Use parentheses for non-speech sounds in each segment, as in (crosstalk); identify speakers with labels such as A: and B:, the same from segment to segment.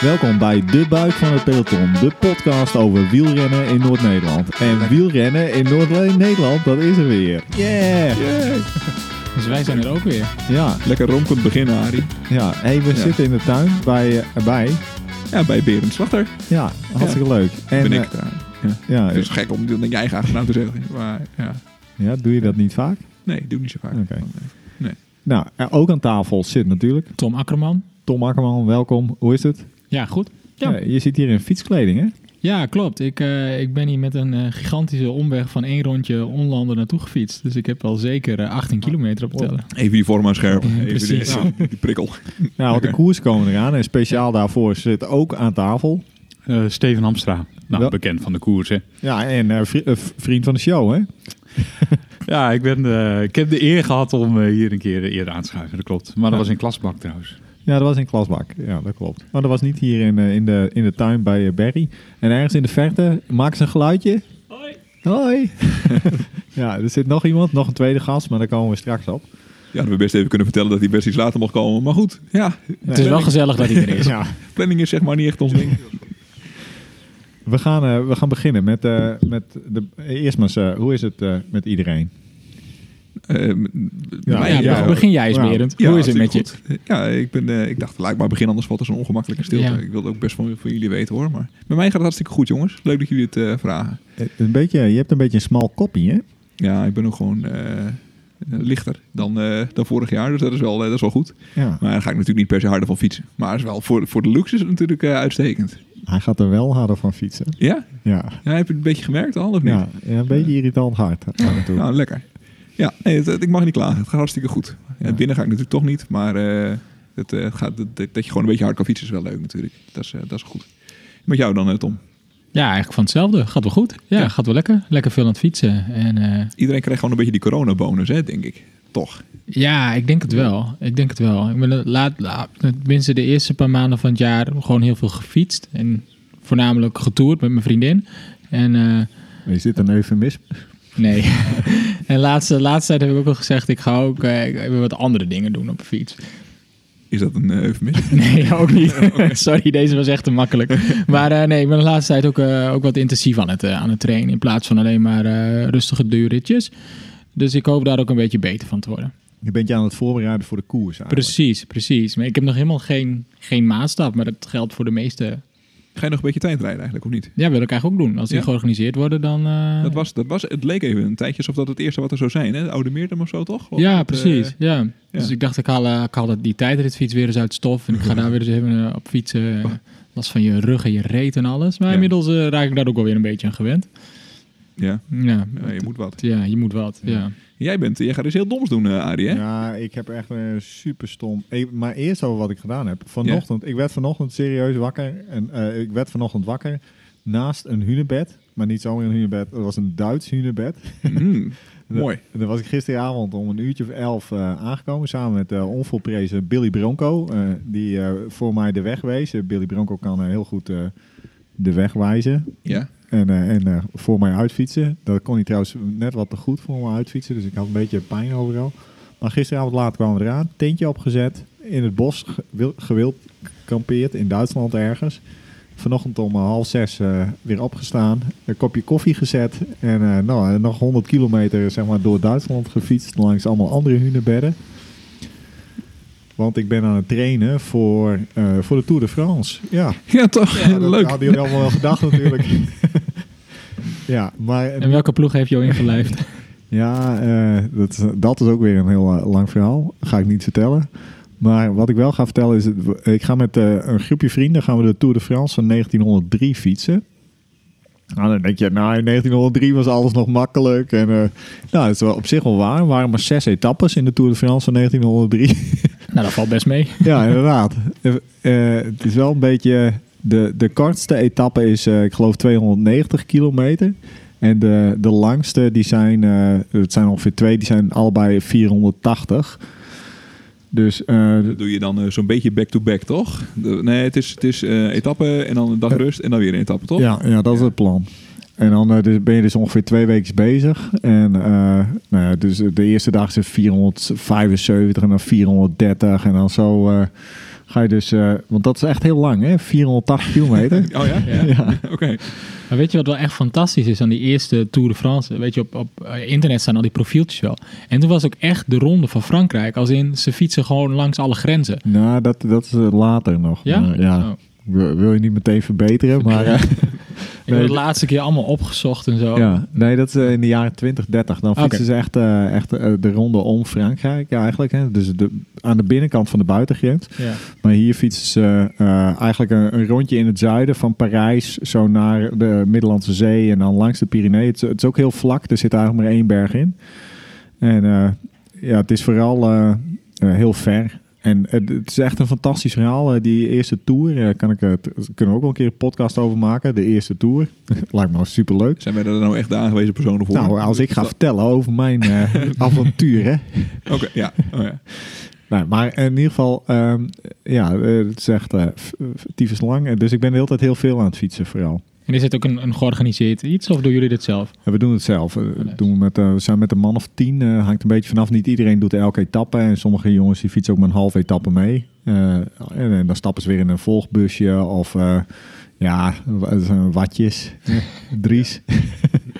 A: Welkom bij De Buik van het Peloton, de podcast over wielrennen in Noord-Nederland. En wielrennen in Noord-Nederland, dat is er weer. Yeah!
B: Dus wij zijn er ook weer.
A: Ja,
C: Lekker rompend beginnen, Arie.
A: ja. Hey, we
C: Ja.
A: zitten in de tuin bij, eh, bij.
C: Ja, bij Berend Slachter
A: Ja, hartstikke leuk. En,
C: ben
A: eh,
C: ik Dus- daar. Ja.
A: ja,
C: Het is gek om dat je eigen achternaam te zeggen. Maar ja,
A: ja, doe je dat niet vaak?
C: nee, doe ik niet zo vaak.
A: Oké.
C: Nee.
A: Nou, eh, ook aan tafel zit natuurlijk
B: Tom Akkerman.
A: Tom Akkerman. Welkom, hoe is het?
B: Ja, goed. Ja.
A: Eh, je zit hier in fietskleding, hè?
B: Ja, klopt. Ik, eh, ik ben hier met een eh, gigantische omweg van één rondje onlanden naartoe gefietst. Dus ik heb al zeker eh, 18 kilometer op te tellen.
C: Even die vorm aan scherp. Even
B: precies.
C: Die, ja, die prikkel.
A: Nou,
C: (laughs)
A: want de koers komen eraan en speciaal daarvoor zit ook aan tafel.
D: Eh, Steven Hamstra. Nou,
A: Wel-
D: bekend van de koers, hè?
A: Ja, en eh, vri- eh, vriend van de show, hè?
D: Ja, ik, ben, eh, ik heb de eer gehad om eh, hier een keer eerder aan te schuiven, dat klopt. Maar dat was in klasbak trouwens.
A: Ja, dat was in Klasbak. Ja, dat klopt. Maar dat was niet hier in, eh, in, de, in de tuin bij eh, Barry. En ergens in de verte maakt ze een geluidje. Hoi. Hoi. (laughs) ja, er zit nog iemand, nog een tweede gast, maar daar komen we straks op.
C: Ja, dat we best even kunnen vertellen dat die best iets later mag komen. Maar goed, ja.
B: Het is wel gezellig dat hij er is.
A: Ja,
C: Planning is zeg maar niet echt ons ding.
A: we gaan, eh, we gaan beginnen met, eh, met de... Eerst maar eens, eh, hoe is het eh, met iedereen?
C: Eh, m-
A: Ja,
B: Ja,
C: mij-
A: ja.
B: begin jij eens,
A: Ja.
B: Berend.
C: Ja,
B: Hoe is het met je?
C: hartstikke goed. Ja, ik, ben, eh, ik dacht, laat ik maar beginnen, anders valt er zo'n ongemakkelijke stilte.
B: Ja.
C: Ik wilde ook best van, van jullie weten hoor. Maar bij mij gaat het hartstikke goed, jongens. Leuk dat jullie het eh, vragen.
A: Eh, Een beetje, je hebt een beetje een smal koppie, hè?
C: Ja, ik ben ook gewoon eh, eh, lichter dan, eh, dan vorig jaar. Dus dat is, wel, eh, dat is wel goed.
A: Ja,
C: Maar daar ga ik natuurlijk niet per se harder van fietsen. Maar het is wel voor, voor de luxe is het natuurlijk eh, uitstekend.
A: hij gaat er wel harder van fietsen.
C: Ja?
A: Ja,
C: ja, heb je het een beetje gemerkt al of niet?
A: ja een beetje irritant hard. eh, af en toe.
C: Nou, lekker. Ja, nee, het- het- ik mag niet klagen. Het gaat hartstikke goed. Ja,
A: Ja.
C: Binnen ga ik natuurlijk toch niet. Maar eh, het, eh, gaat, dat, dat- dat je gewoon een beetje hard kan fietsen is wel leuk natuurlijk. Dat is, eh, dat is goed. Met jou dan, eh, Tom.
B: Ja, eigenlijk van hetzelfde. Gaat wel goed. Ja,
C: Ja.
B: gaat wel lekker. Lekker veel aan het fietsen. En eh,
C: Iedereen krijgt gewoon een beetje die coronabonus, hè, denk ik. Toch?
B: Ja, ik denk het wel. Ik denk het wel. Ik ben de laat, laat, tenminste de eerste paar maanden van het jaar gewoon heel veel gefietst. En voornamelijk getoerd met mijn vriendin. En eh,
A: Je zit een eufemisme.
B: nee. (laughs) en laatste, laatste tijd heb ik ook al gezegd, ik ga ook eh, ik wil wat andere dingen doen op de fiets. (laughs)
C: Is dat een eh, eufemisme?
B: Nee, ook niet. (laughs) Sorry, deze was echt te makkelijk. Maar eh, nee, ik ben de laatste tijd ook, eh, ook wat intensief aan het, eh, aan het trainen. In plaats van alleen maar eh, rustige duurritjes. Dus ik hoop daar ook een beetje beter van te worden.
A: Je bent je aan het voorbereiden voor de koers eigenlijk.
B: Precies, precies. Maar ik heb nog helemaal geen, geen maatstaf, maar dat geldt voor de meeste.
C: Ga je nog een beetje tijd rijden eigenlijk, of niet?
B: Ja, wil ik eigenlijk ook doen. Als die
C: Ja.
B: georganiseerd worden, dan. eh,
C: Dat was, dat was, het leek even een tijdje alsof dat het eerste wat er zou zijn, hè? De Oude Meertem of zo, toch? Of
B: Ja,
C: dat, eh,
B: precies. ja. Dus
C: ja.
B: ik dacht, ik haal, eh, ik haal dat- die tijdritfiets weer eens uit stof. En ik ga daar weer eens even eh, op fietsen. eh, Last van je rug en je reet en alles. Maar
C: Oh. Ja.
B: inmiddels eh, raak ik daar ook alweer een beetje aan gewend.
C: ja.
B: Ja,
C: Oh, ja, je moet wat.
B: ja je moet wat. Ja.
C: Jij, bent, jij gaat iets heel doms doen, eh Arie, hè?
A: Ja, ik heb echt een super stom. Ik- maar eerst over wat ik gedaan heb. Vanochtend, ik werd vanochtend serieus wakker. En, eh, ik werd vanochtend wakker naast een hunebed. Maar niet zomaar een hunebed. Het was een Duits hunebed.
C: (laughs) Mhm. Mooi.
A: En Daar was ik gisteravond om een uurtje of elf eh, aangekomen. Samen met eh onvolprezen Billy Bronco. eh, die eh, voor mij de weg wees. Eh, Billy Bronco kan eh, heel goed eh, de weg wijzen.
C: (laughs) Ja.
A: En, eh, en eh, voor mij uitfietsen. Dat kon hij trouwens net wat te goed voor me uitfietsen. Dus ik had een beetje pijn overal. Maar gisteravond laat kwamen we eraan. Tentje opgezet. In het bos ge- wil- gewild kampeerd. In Duitsland ergens. Vanochtend om eh, half zes eh, weer opgestaan. Een kopje koffie gezet. En eh, nou, eh, nog 100 kilometer zeg maar, door Duitsland gefietst. Langs allemaal andere hunebedden. Want ik ben aan het trainen voor, eh, voor de Tour de France. Ja.
C: Ja, toch? (laughs)
A: Ja, dat
C: Leuk.
A: hadden jullie allemaal wel gedacht natuurlijk. ja, maar
B: En welke ploeg heeft jou
C: (laughs)
B: ingelijfd?
A: ja, eh, dat, is- dat is ook weer een heel eh, lang verhaal. Ga ik niet vertellen. Maar wat ik wel ga vertellen is, het- ik ga met eh, een groepje vrienden gaan we de Tour de France van 1903 fietsen. Nou, dan denk je, nou, in 1903 was alles nog makkelijk. En, eh, nou, dat is wel op zich wel waar. Er waren maar zes etappes in de Tour de France van 1903.
B: nou, dat valt best
C: (laughs)
B: mee.
A: Ja, inderdaad. Eh, eh, het is wel een beetje... De, de kortste etappe is, eh, ik geloof, 290 kilometer. En de, de langste, die zijn, eh, het zijn ongeveer twee, die zijn allebei 480. Dus eh,
C: Dat doe je dan eh, zo'n beetje back-to-back, toch? De- nee, het is, het is eh, etappe en dan een dag rust en dan weer een etappe, toch?
A: Ja, ja dat is
C: Ja.
A: het plan. En dan eh, dus ben je dus ongeveer twee weken bezig. En eh, nou ja, dus de eerste dag is het 475 en dan 430 en dan zo eh, ga je dus, eh, want dat is echt heel lang, hè? 480 kilometer.
C: Oh (laughs) ja?
B: Ja.
A: ja.
C: Oké.
B: Maar weet je wat wel echt fantastisch is aan die eerste Tour de France? Weet je, op, op eh, internet staan al die profieltjes wel. En toen was ook echt de ronde van Frankrijk. Als in, ze fietsen gewoon langs alle grenzen.
A: Nou, dat, dat is eh, later nog.
B: Ja?
A: Maar, Eh, ja.
B: Oh.
A: Wil wil je niet meteen verbeteren, maar... eh,
B: Ik
A: Nee,
B: heb de
A: dat-
B: laatste keer allemaal opgezocht en zo.
A: Ja, nee, dat is eh, in de jaren 20, 30. Dan fietsen
B: Oké.
A: ze echt, eh, echt eh, de ronde om Frankrijk ja, eigenlijk. Hè. Dus de, aan de binnenkant van de buitengrens.
B: Ja.
A: Maar hier fietsen ze eh, eigenlijk een, een rondje in het zuiden van Parijs. Zo naar de Middellandse Zee en dan langs de Pyreneeën. Het, is- het is ook heel vlak. Er zit eigenlijk maar één berg in. En eh, ja, het is vooral eh, eh, heel ver. En het, het is echt een fantastisch verhaal. Eh, die eerste tour, eh, kan ik, het kunnen we ook wel een keer een podcast over maken. De eerste tour. (laughs) Lijkt me super leuk.
C: Zijn wij daar nou echt de aangewezen personen voor?
A: Nou, als ik ga vertellen over mijn eh, avontuur, hè.
C: Oké, ja. Oh, ja.
A: Nou, maar in ieder geval, ehm, ja, eh, het is echt eh, f- f- tyfus lang. Eh, Dus ik ben de hele tijd heel veel aan het fietsen vooral.
B: En is het ook een, een georganiseerd iets of doen jullie dit zelf?
A: En we doen het zelf. Eh,
B: nice.
A: doen we, met, eh, we zijn met een man of tien. eh, hangt een beetje vanaf. Niet iedereen doet elke etappe. En sommige jongens die fietsen ook maar een halve etappe mee. Eh, en, en dan stappen ze weer in een volgbusje. Of eh, ja, wa- het zijn watjes. Dries. (laughs)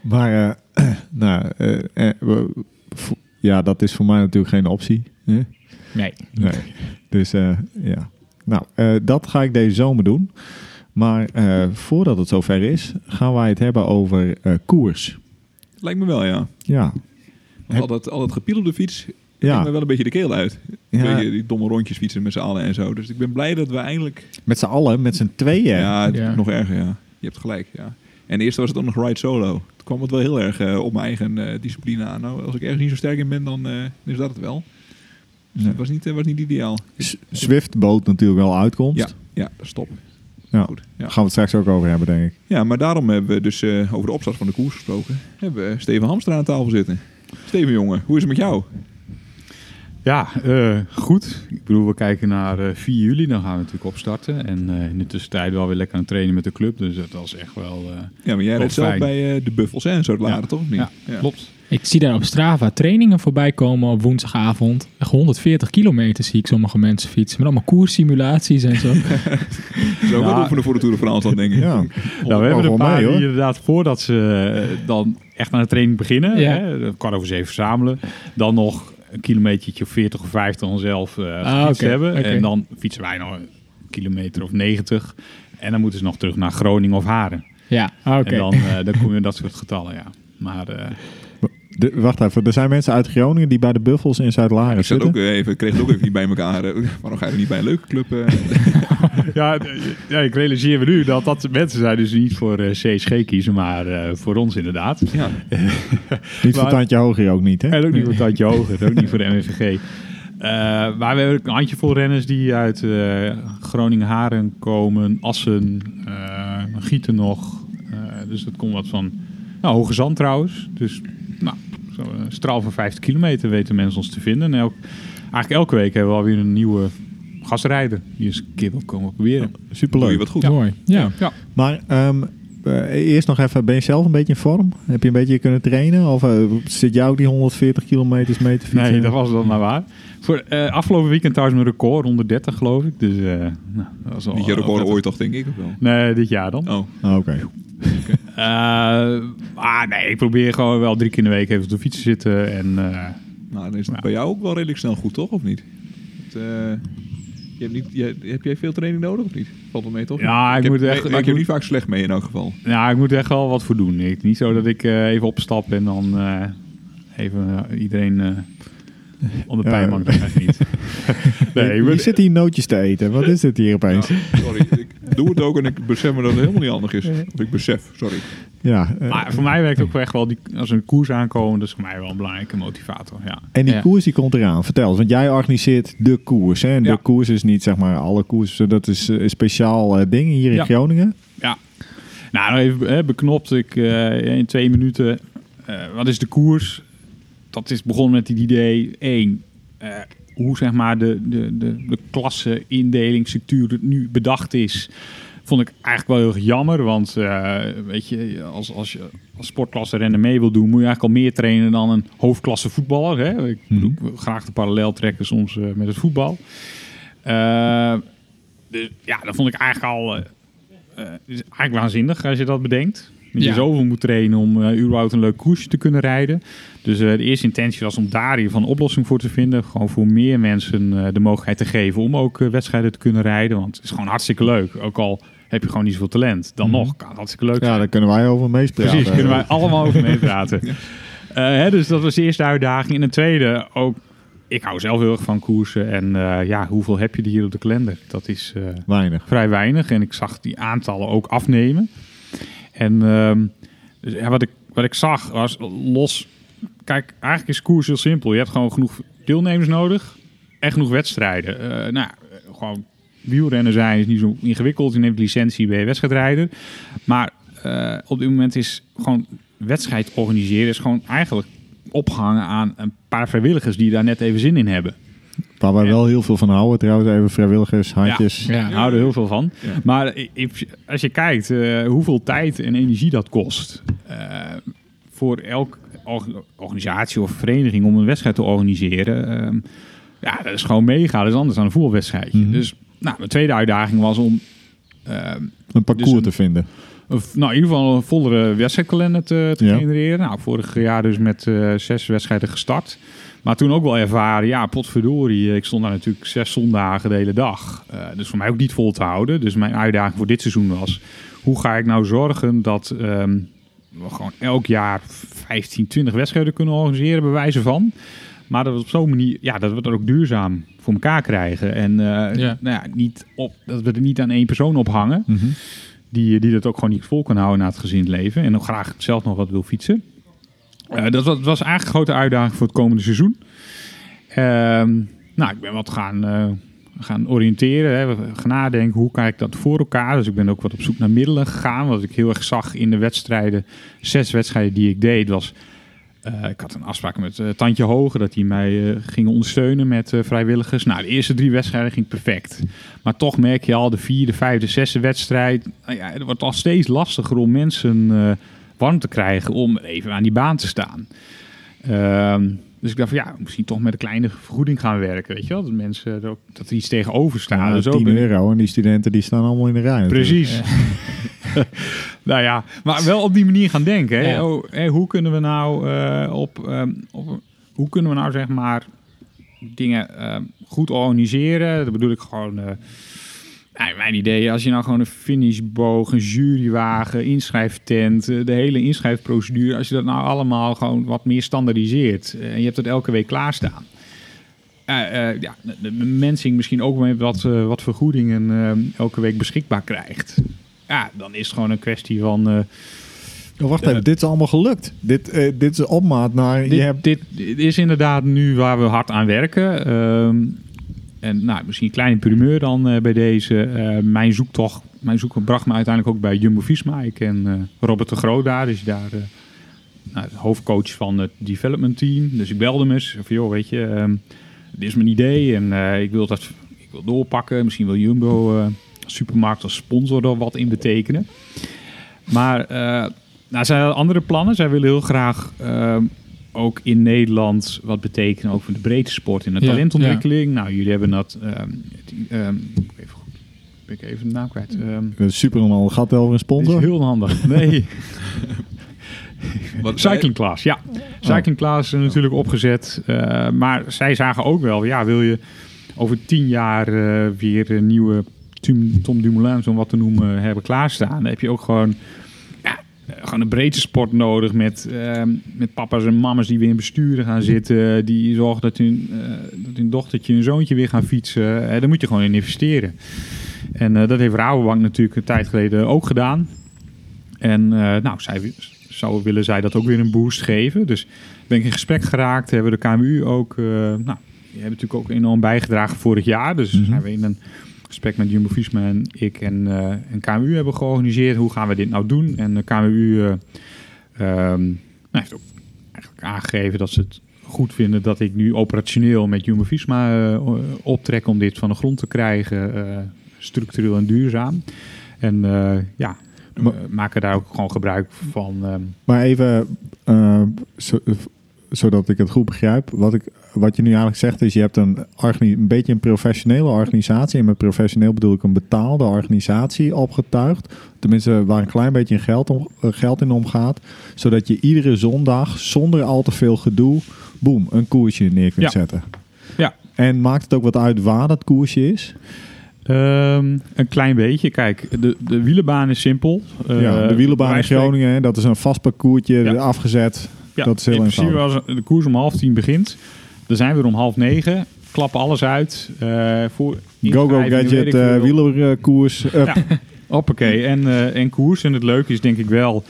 A: maar eh, (clears throat) nou, eh, eh, we- vo- ja, dat is voor mij natuurlijk geen optie. hè?
B: Nee.
A: Nee. Dus eh, ja. Nou, eh, dat ga ik deze zomer doen. Maar eh, voordat het zover is, gaan wij het hebben over eh, koers.
C: Lijkt me wel, ja.
A: Ja.
C: Want al dat, al dat gepiel op de fiets ja. me
A: ja.
C: wel een beetje de keel uit.
A: Ja.
C: Beetje die domme rondjes fietsen met z'n allen en zo. Dus ik ben blij dat we eindelijk...
A: Met z'n allen, met z'n tweeën.
C: Ja, het-
B: Ja.
C: nog erger, ja. Je hebt gelijk, ja. En eerst was het ook nog ride solo. Toen kwam het wel heel erg eh, op mijn eigen eh, discipline aan. Nou, als ik ergens niet zo sterk in ben, dan eh, is dat het wel. Dus
A: Ja.
C: het was niet, eh, was niet ideaal.
A: S- Swift-boot natuurlijk wel uitkomst.
C: Ja, ja, stop.
A: Ja.
C: Goed, ja.
A: Daar gaan we het straks ook over hebben, denk ik.
C: ja, maar daarom hebben we dus eh, over de opstart van de koers gesproken. Hebben we Steven Hamstra aan tafel zitten. Steven, jongen, hoe is het met jou?
D: Ja, eh, goed. Ik bedoel, we kijken naar eh, 4 juli. Dan gaan we natuurlijk opstarten. En eh, in de tussentijd wel weer lekker aan het trainen met de club. Dus dat was echt wel... eh,
C: Ja, maar jij
D: Wel
C: reed zelf
D: fijn.
C: bij eh, de buffels hè, en zo later,
D: Ja.
C: toch? Of Niet?
D: ja, klopt.
B: Ik zie daar op Strava trainingen voorbij komen op woensdagavond. Echt 140 kilometer zie ik sommige mensen fietsen. Met allemaal koerssimulaties en zo.
C: Zo ook
D: Ja.
C: wel oefenen voor de Tour de France dan, denk ik. (laughs)
A: Ja.
D: Nou, we hebben er
A: wel
D: een paar
A: mee, hoor.
D: die inderdaad voordat ze eh, dan echt aan de training beginnen.
B: Ja.
D: Hè, kwart over zeven verzamelen. Dan nog een kilometertje of 40 of 50 onszelf eh gefietst
B: Ah, oké,
D: hebben.
B: oké.
D: En dan fietsen wij nog een kilometer of 90. En dan moeten ze nog terug naar Groningen of Haren.
B: Ja, oké.
D: En dan, eh, dan kom je in dat soort getallen, ja. Maar
B: (laughs)
D: eh,
A: De- wacht even, er zijn mensen uit Groningen die bij de Buffels in Zuid-Laren
C: Ik zat
A: zitten.
C: ook eh, even, kreeg het ook even niet bij elkaar. (laughs) eh, Waarom ga je niet bij een leuke club? eh?
D: ja, d- ja, ik realiseer me nu dat dat mensen zijn dus niet voor eh, CSG kiezen, maar eh, voor ons inderdaad.
C: ja.
A: Niet voor
D: Maar-
A: tandje hoger ook niet, hè?
D: En ook niet voor Tandje Hoger, en ook niet voor
C: (laughs)
D: de MVG. Eh, maar we hebben ook een handjevol renners die uit eh, Groningen, Haren komen, Assen, eh, Gieten nog. Eh, dus dat komt wat van nou, Hoge Zand trouwens. Dus nou, zo'n eh, straal van 50 kilometer weten mensen ons te vinden. En elk, eigenlijk elke week hebben we alweer een nieuwe gastrijder die eens een keer wil komen proberen.
C: Doe je
A: Superleuk.
C: wat goed.
B: Mooi. Ja.
D: Ja.
A: Maar ehm, eh, eerst nog even, ben je zelf een beetje in vorm? Heb je een beetje kunnen trainen? Of eh, zit jou ook die 140 kilometers mee te fietsen?
D: Nee, dat was dan maar waar. Voor, eh, afgelopen weekend trouwens mijn record, 130 geloof ik. Dus, eh, nou, dat was al,
C: Niet je
D: al
C: record
D: prettig.
C: ooit toch, denk ik? Of wel?
D: Nee, dit jaar dan.
C: Oh,
A: Oh, Oké.
D: Eh, ah, nee, ik probeer gewoon wel drie keer in de week even op de fiets te zitten. En, eh,
C: nou, dan is het
D: Ja.
C: bij jou ook wel redelijk snel goed, toch? Of niet? Het, eh, je hebt, niet je, heb jij veel training nodig of niet? Valt wel mee, toch?
D: Ja, ik
C: heb-
D: moet echt-
C: maak
D: ik
C: je er
D: moet-
C: niet vaak slecht mee in elk geval.
D: nou, ik moet er echt wel wat voor doen. Ik, niet zo dat ik eh, even opstap en dan eh, even eh, iedereen eh, onder
A: Ja.
D: pijn maak. Dat echt niet. (laughs) nee, ik
A: je,
D: ben-
A: zit hier nootjes te eten. Wat is dit hier opeens? Ja,
C: Sorry, ik doe het ook en ik besef me dat het helemaal niet handig is. Of ik besef, sorry.
A: eh,
D: maar voor mij werkt ook wel echt wel, die, als er een koers aankomen, dat is voor mij wel een belangrijke motivator. Ja.
A: en die
B: ja.
A: koers die komt eraan. Vertel eens, want jij organiseert de koers. Hè? En
D: Ja.
A: de koers is niet zeg maar alle koersen. Dat is eh, een speciaal eh, ding hier in
D: Ja.
A: Groningen.
D: Ja. Nou, nog even hè, beknopt. Ik, eh, in twee minuten. eh, wat is de koers? Dat is begonnen met het idee. één, eh, hoe zeg maar de, de, de, de klasse, indeling, structuur nu bedacht is. Vond ik eigenlijk wel heel erg jammer. Want eh, weet je, als, als je als sportklasse renner mee wil doen, moet je eigenlijk al meer trainen dan een hoofdklasse voetballer. Hè? Ik bedoel, graag de parallel trekken soms eh, met het voetbal. Eh, dus ja, dat vond ik eigenlijk al eh, eh, is eigenlijk waanzinnig als je dat bedenkt. Dat
B: Ja.
D: je zoveel moet trainen om eh überhaupt een leuk koersje te kunnen rijden. Dus eh, de eerste intentie was om daar hiervan een oplossing voor te vinden. Gewoon voor meer mensen eh, de mogelijkheid te geven om ook eh, wedstrijden te kunnen rijden. Want het is gewoon hartstikke leuk. Ook al heb je gewoon niet zoveel talent. Dan
B: Mhm.
D: nog kan het hartstikke leuk zijn.
A: Ja, eh, daar kunnen wij over meespraten.
D: Precies, kunnen wij allemaal over meepraten.
A: (laughs)
D: Eh, hè, dus dat was de eerste uitdaging. En de tweede, ook, ik hou zelf heel erg van koersen. En eh, ja, hoeveel heb je er hier op de kalender? Dat is eh,
A: Weinig.
D: vrij weinig. En ik zag die aantallen ook afnemen. En ehm, dus, ja, wat, ik, wat ik zag was los. Kijk, eigenlijk is koers heel simpel. Je hebt gewoon genoeg deelnemers nodig en genoeg wedstrijden. Eh, nou, eh, gewoon wielrennen zijn is niet zo ingewikkeld. Je neemt licentie bij wedstrijdrijder. Maar eh, op dit moment is gewoon wedstrijd organiseren is gewoon eigenlijk opgehangen aan een paar vrijwilligers die daar net even zin in hebben.
A: Waar wij
D: Ja.
A: wel heel veel van houden trouwens. Even vrijwilligers, handjes.
B: Ja.
D: Ja, houden er heel veel van. Maar i- i- als je kijkt eh, hoeveel tijd en energie dat kost eh, voor elk org- organisatie of vereniging om een wedstrijd te organiseren, ehm, ja, dat is gewoon mega. Dat is anders dan een voetbalwedstrijdje.
A: Mhm.
D: Dus nou, mijn tweede uitdaging was om ehm,
A: Een parcours
D: Dus een-
A: te vinden.
D: een v- nou, in ieder geval een vollere wedstrijdkalender te, te
A: Ja.
D: genereren. Nou, vorig jaar dus met eh, zes wedstrijden gestart. Maar toen ook wel ervaren, ja, potverdorie. eh, Ik stond daar natuurlijk zes zondagen de hele dag. Eh, dus voor mij ook niet vol te houden. Dus mijn uitdaging voor dit seizoen was... hoe ga ik nou zorgen dat ehm, we gewoon elk jaar 15, 20 wedstrijden kunnen organiseren... bij wijze van... Maar dat we op zo'n manier, ja, dat we dat ook duurzaam voor elkaar krijgen. En eh,
B: Ja.
D: Nou ja, niet op, dat we er niet aan één persoon ophangen die, die dat ook gewoon niet vol kan houden na het gezin leven. En ook graag zelf nog wat wil fietsen. Eh, dat, was, dat was eigenlijk een grote uitdaging voor het komende seizoen. Ehm, nou, ik ben wat gaan, eh, gaan oriënteren. Hè. Gaan nadenken, hoe krijg ik dat voor elkaar? Dus ik ben ook wat op zoek naar middelen gegaan. Wat ik heel erg zag in de wedstrijden, zes wedstrijden die ik deed, was... eh, ik had een afspraak met eh, Tantje Hoge dat hij mij eh, ging ondersteunen met eh, vrijwilligers. Nou, de eerste drie wedstrijden ging perfect. Maar toch merk je al de vierde, vijfde, zesde wedstrijd. Nou ja, het wordt al steeds lastiger om mensen eh, warm te krijgen om even aan die baan te staan. Ehm, dus ik dacht van ja, misschien toch met een kleine vergoeding gaan werken. Weet je wel, dat mensen er ook, dat er iets tegenover staan.
A: Ja,
D: dus ook
A: 10
D: een-
A: euro en die studenten die staan allemaal in de rij. natuurlijk.
D: Precies. (laughs) nou ja, maar wel op die manier gaan denken. Hè?
B: Ja.
D: Oh, hè, hoe kunnen we nou eh, op, ehm, op- hoe kunnen we nou zeg maar dingen ehm, goed organiseren? Dat bedoel ik gewoon. eh, nou, in mijn idee, als je nou gewoon een finishboog, een jurywagen, inschrijftent, eh, de hele inschrijfprocedure, als je dat nou allemaal gewoon wat meer standaardiseert eh, en je hebt dat elke week klaarstaan. Eh, eh, ja, de, de mensing misschien ook met wat, eh, wat vergoedingen eh, elke week beschikbaar krijgt. Ja, dan is het gewoon een kwestie van. eh,
A: Oh, wacht even, dit is allemaal gelukt. Dit, eh, dit is een opmaat naar...
D: dit,
A: je hebt,
D: dit, dit is inderdaad nu waar we hard aan werken. Ehm, en nou, misschien een kleine primeur dan eh, bij deze. Eh, mijn zoektocht mijn zoek bracht me uiteindelijk ook bij Jumbo-Visma. Ik ken eh, Robert de Groot daar, dus daar... eh, nou, de hoofdcoach van het development team. Dus ik belde hem eens. Van, joh, weet je, ehm, dit is mijn idee en eh, ik wil dat ik wil doorpakken. Misschien wil Jumbo eh, als supermarkt als sponsor er wat in betekenen. Maar eh nou, zij hadden andere plannen. Zij willen heel graag ehm, ook in Nederland wat betekenen. Ook voor de breedte sport in de
B: Ja,
D: talentontwikkeling. Nou, jullie hebben dat... ehm, die, ehm, even goed, ben ik even de naam kwijt. Ehm,
A: eh, super normaal gat over een
D: dit is
A: sponsor.
D: heel handig. Nee.
C: Wat-
D: Cycling Class, ja. Cycling Class is natuurlijk opgezet. eh, maar zij zagen ook wel, ja, wil je over tien jaar eh, weer een nieuwe Tom, Tom Dumoulin, om wat te noemen, eh, hebben klaarstaan. Dan heb je ook gewoon, ja, eh, gewoon een breedte sport nodig met, eh, met papa's en mama's die weer in besturen gaan zitten. Die zorgen dat hun, eh, dat hun dochtertje en zoontje weer gaan fietsen. Eh, daar moet je gewoon in investeren. En eh, dat heeft Rabobank natuurlijk een tijd geleden ook gedaan. En eh, nou, zij wi- zou willen zij dat ook weer een boost geven. Dus ben ik in gesprek geraakt. Hebben de KMU ook, eh, nou, die hebben natuurlijk ook enorm bijgedragen vorig jaar. Dus
A: Mhm.
D: zijn we in een gesprek met Jumbo Visma en ik en, eh en KMU hebben georganiseerd. Hoe gaan we dit nou doen? En de KMU eh, ehm, nou, heeft ook eigenlijk aangegeven dat ze het goed vinden dat ik nu operationeel met Jumbo Visma eh, o- optrek om dit van de grond te krijgen. eh, structureel en duurzaam. En eh, ja, we
A: Maar-
D: maken daar ook gewoon gebruik van. ehm,
A: Maar even, eh, zo- zodat ik het goed begrijp. Wat, ik, wat je nu eigenlijk zegt is, je hebt een, organi- een beetje een professionele organisatie. En met professioneel bedoel ik een betaalde organisatie opgetuigd. Tenminste, waar een klein beetje in geld, om, eh, geld in omgaat. Zodat je iedere zondag zonder al te veel gedoe, boem, een koersje neer kunt
D: Ja.
A: zetten.
D: Ja.
A: En maakt het ook wat uit waar dat koersje is?
D: Ehm, een klein beetje. Kijk, de, de wielenbaan is simpel. Eh,
A: ja, de wielenbaan
D: wij
A: in
D: spreken-
A: Groningen, hè, dat is een vast parcoursje
D: Ja.
A: afgezet.
D: Ja,
A: Dat is heel
D: in principe
A: eenvoudig.
D: als de koers om half tien begint, dan zijn we er om half negen. Klappen alles uit. eh, voor
A: Go-Go
D: inschrijvingen, weet
A: Gadget,
D: ik veel.
A: eh wielerkoers. eh, up.
D: Ja. Hoppakee. En, eh, en koers. En het leuke is denk ik wel,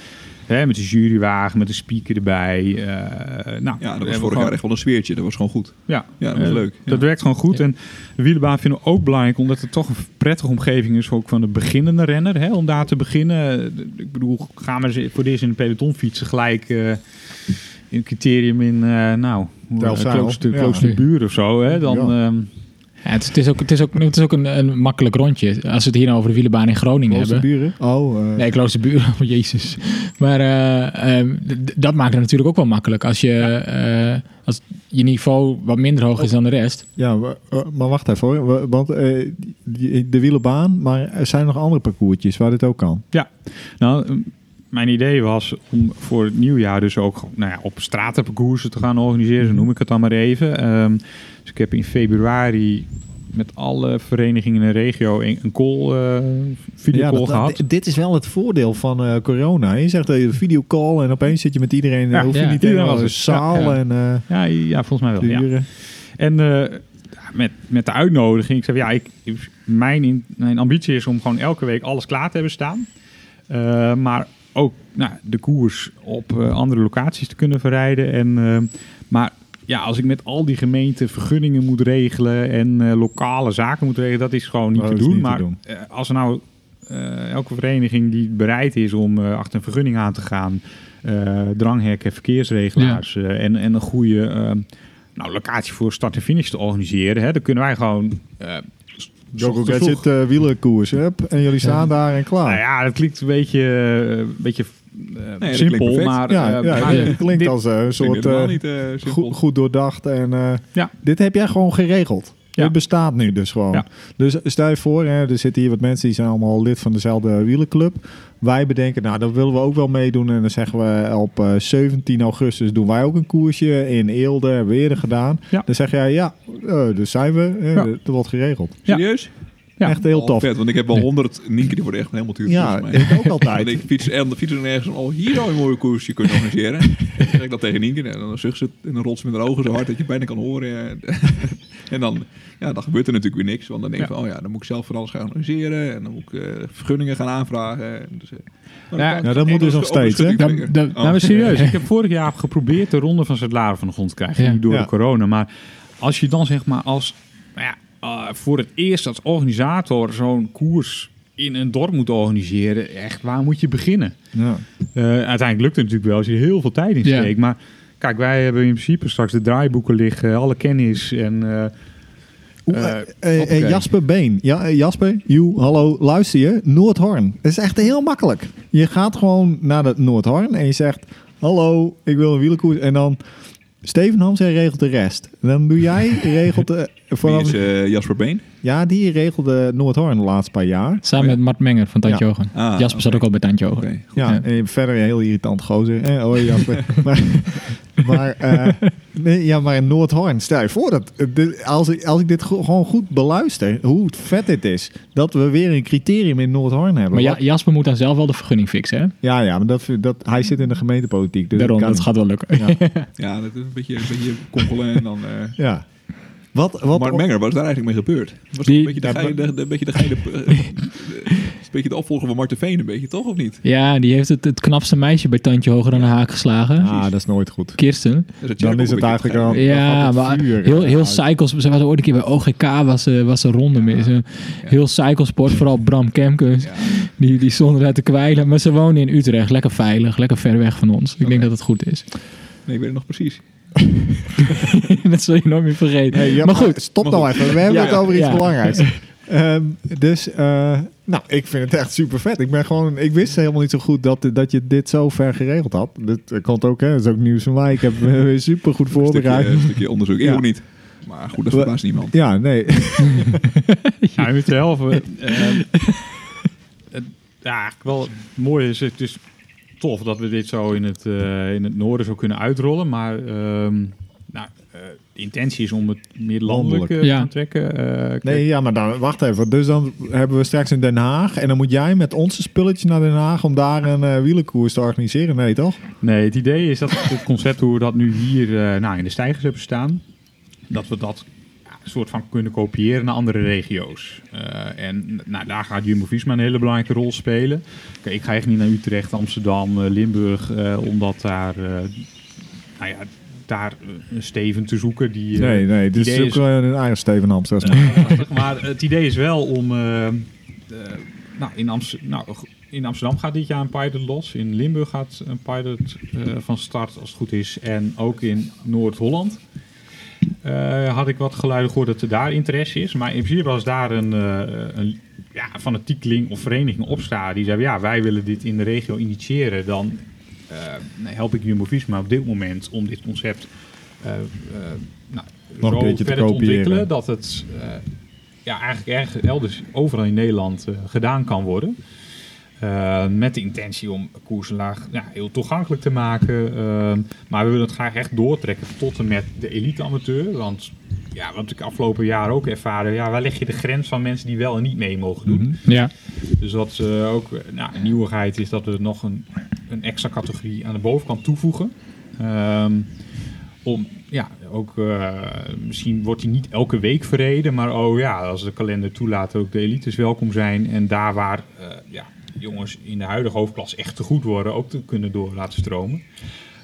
D: hè, met de jurywagen, met de speaker erbij. eh, nou,
C: Ja, dat was
D: hebben we
C: vorig
D: gewoon-
C: jaar echt wel een sfeertje. Dat was gewoon goed.
D: Ja,
C: Ja, dat was
D: Eh,
C: leuk.
D: Dat
C: Ja.
D: werkt gewoon goed. En de wielerbaan vinden we ook belangrijk, omdat het toch een prettige omgeving is ook van de beginnende renner. Hè? Om daar te beginnen. De- Ik bedoel, gaan we voor deze in de peloton fietsen gelijk eh, in een criterium in, eh nou,
A: Delfzijl.
D: klooster,
A: Ja.
D: buur of zo. Hè? Dan,
A: Ja.
D: ehm,
B: Ja, het, is- het is ook, het is ook, het is ook een, een makkelijk rondje. Als we het hier nou over de wielenbaan in Groningen hebben.
A: Kloosterburen? Oh, eh,
B: Nee, Kloosterburen, (laughs) oh, jezus. Maar eh, eh, d- d- dat maakt het natuurlijk ook wel makkelijk. Als je, eh, als je niveau wat minder hoog is dan de rest.
A: ja, wa- eh, maar wacht even hoor. wa- Want eh, die- de wielenbaan, maar er zijn nog andere parcoursjes waar dit ook kan.
D: nou, ehm, mijn idee was om voor het nieuwjaar dus ook nou ja, op stratenparcoursen te gaan organiseren.
A: Mhm.
D: Zo noem ik het dan maar even. Ehm, dus ik heb in februari met alle verenigingen in de regio een, een call, eh videocall
A: dat-
D: gehad.
A: d- Dit is wel het voordeel van eh, corona. Je zegt dat je videocall en opeens zit je met iedereen.
D: Ja,
A: Ja, hoef je
B: ja.
A: niet
D: Iedereen
A: helemaal
D: was
A: een
D: het.
A: zaal
B: Ja, ja.
A: en eh
D: Ja, ja, volgens mij wel. Ja.
A: duren.
D: En eh, met, met de uitnodiging, ik zei, ja, ik, mijn, in- mijn ambitie is om gewoon elke week alles klaar te hebben staan. Eh, maar ook nou, de koers op eh, andere locaties te kunnen verrijden. En, eh, maar ja, als ik met al die gemeenten vergunningen moet regelen en eh, lokale zaken moet regelen, dat is gewoon niet
A: Oh, Dat
D: te
A: is
D: doen.
A: niet te
D: maar
A: doen.
D: eh, als er nou eh, elke vereniging die bereid is om eh, achter een vergunning aan te gaan, eh, dranghekken, verkeersregelaars eh, en, en een goede eh, nou, locatie voor start en finish te organiseren, hè, dan kunnen wij gewoon. eh, s-
A: Jogo
D: ochtends vroeg-
A: Gadget eh wielerkoers. hup, en jullie staan daar en klaar.
D: nou ja, dat klinkt een beetje, eh, een beetje eh,
C: klinkt
D: simpel,
C: perfect.
D: maar,
A: ja,
D: eh,
A: ja,
D: maar
A: dit klinkt
D: dit-
A: als eh, een soort
C: helemaal
A: eh,
C: niet eh, simpel.
A: goed, goed doordacht. En, eh,
D: Ja.
A: Dit heb jij gewoon geregeld.
D: Ja.
A: Dit bestaat nu dus gewoon.
D: Ja.
A: Dus stel je voor, hè, er zitten hier wat mensen die zijn allemaal lid van dezelfde wielenclub. Wij bedenken, nou, dat willen we ook wel meedoen. En dan zeggen we op eh, 17 augustus doen wij ook een koersje in Eelde. Hebben we eerder gedaan.
D: Ja.
A: Dan zeg jij, ja, eh, dus zijn we. Eh,
D: Ja.
A: Dat wordt geregeld.
D: Ja.
C: Serieus?
D: Ja.
A: Echt heel
C: Oh,
A: tof.
C: vet, want ik heb wel
B: Nee.
C: 100 Nienke, die worden echt helemaal duur.
A: Ja,
C: volgens mij.
A: ik ook
C: Want
A: altijd.
C: ik fiets en de fietsen nergens en al hier zou je een mooie koersje kunnen organiseren. dan zeg ik dat tegen Nienke en dan zucht ze het en dan rolt ze met haar ogen zo hard dat je het bijna kan horen. (laughs) en dan, ja, dan gebeurt er natuurlijk weer niks, want dan denk je
D: Ja.
C: van, oh ja, dan moet ik zelf van alles gaan organiseren en dan moet ik eh, vergunningen gaan aanvragen. En dus, eh, maar
D: Ja,
C: dan-
A: nou, dat moet
C: en
A: dus
C: dan
A: nog
C: is er ook een
A: steeds, hè?
C: schutting
B: Dan-
C: weer.
B: dan-
C: Oh.
D: Nou, maar serieus. Ik heb vorig jaar geprobeerd de ronde van Zuid-Laren van de grond te krijgen.
B: Ja.
D: Niet door
A: Ja.
D: de corona. Maar als je dan zeg maar als... nou ja, eh, voor het eerst als organisator zo'n koers in een dorp moet organiseren. Echt, waar moet je beginnen?
A: Ja.
D: Eh, uiteindelijk lukt het natuurlijk wel als je er heel veel tijd in
B: Ja.
D: steekt. Maar kijk, wij hebben in principe straks de draaiboeken liggen. Alle kennis en... (laughs) eh,
A: Oeh,
D: Eh,
A: eh, eh,
D: hoppakee.
A: Jasper Been. Ja, eh, Jasper, you, hallo, luister je? Noordhorn. Dat is echt heel makkelijk. Je gaat gewoon naar dat Noordhorn en je zegt... Hallo, ik wil een wielerkoers. En dan... Steven Hamsen regelt de rest. En dan doe jij, regelt... eh,
C: Wie is
A: vanaf,
C: eh, Jasper Been?
A: ja, die regelde Noordhorn de laatste paar jaar.
B: Samen met Mart Menger van Tandje Ogen.
C: Ah,
B: Jasper zat ook al bij Tandje Ogen.
C: Oké.
A: Ja,
B: Ja.
A: en verder een heel irritant gozer. Eh, hoi
B: (laughs)
A: Jasper. maar maar, eh, nee, ja, maar in Noordhorn, stel je voor dat... eh, dit- als, ik, als ik dit go- gewoon goed beluister, hoe vet dit is... dat we weer een criterium in Noordhorn hebben.
B: Maar
A: Wat
B: ja, Jasper moet dan zelf wel de vergunning fixen, hè?
A: Ja, ja, maar dat, dat, hij zit in de gemeentepolitiek. Dus
B: Daarom,
A: dat kan
B: dat
A: niet.
B: gaat wel lukken. (laughs)
A: Ja.
C: Ja, dat is een beetje, een beetje konkelen en dan... eh,
A: Ja. Wat, wat,
C: Mark Menger, wat is daar eigenlijk mee gebeurd? Was
B: Die-
C: die, een beetje de
B: Ja,
C: geile, de, de, beetje de geile, eh, de- is een beetje de opvolger van Marten Veen, een beetje, toch? Of niet?
B: Ja, die heeft het, het knapste meisje bij Tandje Hoger aan de haak geslagen.
A: ah, dat is nooit goed.
B: Kirsten.
C: Dat is
A: Dan is het eigenlijk al... dan
B: Ja,
A: gaat het
B: maar
A: vuur eh,
B: heel, heel
A: uit.
B: cycles. Ze was ooit een keer bij OGK, was, eh, was een ronde mee. Ze- Heel cyclesport, vooral Bram Kemkes. Die, die stond eruit te kwijlen. Maar ze wonen in Utrecht, lekker veilig, lekker ver weg van ons. Ik denk dat dat goed is. (laughs)
C: Nee, ik weet het nog precies.
B: dat zul je nooit meer vergeten.
A: Hey, ja,
B: maar goed,
A: Stop nou even. We hebben
B: Ja,
A: het over iets
B: ja.
A: belangrijks. Ehm, dus, eh, nou, ik vind het echt super vet. Ik ben gewoon, ik wist helemaal niet zo goed dat, dat je dit zo ver geregeld had. Dat komt ook, hè? Dat is ook nieuws van mij. Ik heb me weer super goed
C: Een stukje, eh.
A: voorbereid.
C: een stukje onderzoek. Ik
A: Ja.
C: ook niet. Maar goed, dat
A: We-
C: verbaast niemand.
A: Ja, nee. (laughs)
D: Ja, je moet de helft. eh, eh, (laughs) het- ja, eigenlijk wel mooi is. Het is tof dat we dit zo in het, eh, in het noorden zo kunnen uitrollen. Maar ehm, nou, eh, de intentie is om het meer landelijk eh, te
B: Ja.
D: gaan trekken. Eh, kijk,
A: Nee, ja, maar dan, wacht even. Dus dan hebben we straks in Den Haag. En dan moet jij met onze spulletjes naar Den Haag om daar een eh wielenkoers te organiseren. Nee, toch?
D: Nee, het idee is dat het concept hoe we dat nu hier eh, nou, in de stijgers hebben staan, dat we dat ja, een soort van kunnen kopiëren naar andere regio's. Eh, en nou, daar gaat Jumbo-Visma een hele belangrijke rol spelen. Kijk, ik ga echt niet naar Utrecht, Amsterdam, eh, Limburg, eh, omdat daar, eh, nou ja, daar eh, een Steven te zoeken die... eh,
A: Nee, nee. Dit is
D: idee
A: ook eh, een eigen Steven Amsterdam.
D: maar het idee is wel om. eh, eh, nou, in Amst- nou, g- in Amsterdam gaat dit jaar een pilot los. In Limburg gaat een pilot eh, van start, als het goed is. En ook in Noord-Holland. eh, had ik wat geluiden gehoord dat er daar interesse is. Maar in principe als daar een, eh een ja, fanatiekeling of vereniging opstaat... die zei, ja, wij willen dit in de regio initiëren... dan eh, nou, help ik Jumbo-Visma op dit moment om dit concept... eh, eh, nou,
A: Nog een
D: zo
A: beetje te
D: verder
A: kopiëren.
D: ontwikkelen dat het eh, ja, eigenlijk erg, elders overal in Nederland eh, gedaan kan worden. Eh, met de intentie om koersenlaag ja, heel toegankelijk te maken. eh, maar we willen het graag echt doortrekken tot en met de elite amateur. Want ja, wat ik afgelopen jaar ook ervaren, ja, waar leg je de grens van mensen die wel en niet mee mogen
A: Mhm.
D: doen?
B: Ja,
D: Dus wat eh, ook eh, nou, een nieuwigheid is dat we nog een, een extra categorie aan de bovenkant toevoegen. Ehm, om, ja, ook, eh, misschien wordt die niet elke week verreden, maar oh ja, als de kalender toelaat, ook de elites welkom zijn. En daar waar eh, ja, jongens in de huidige hoofdklas echt te goed worden, ook te kunnen door laten stromen.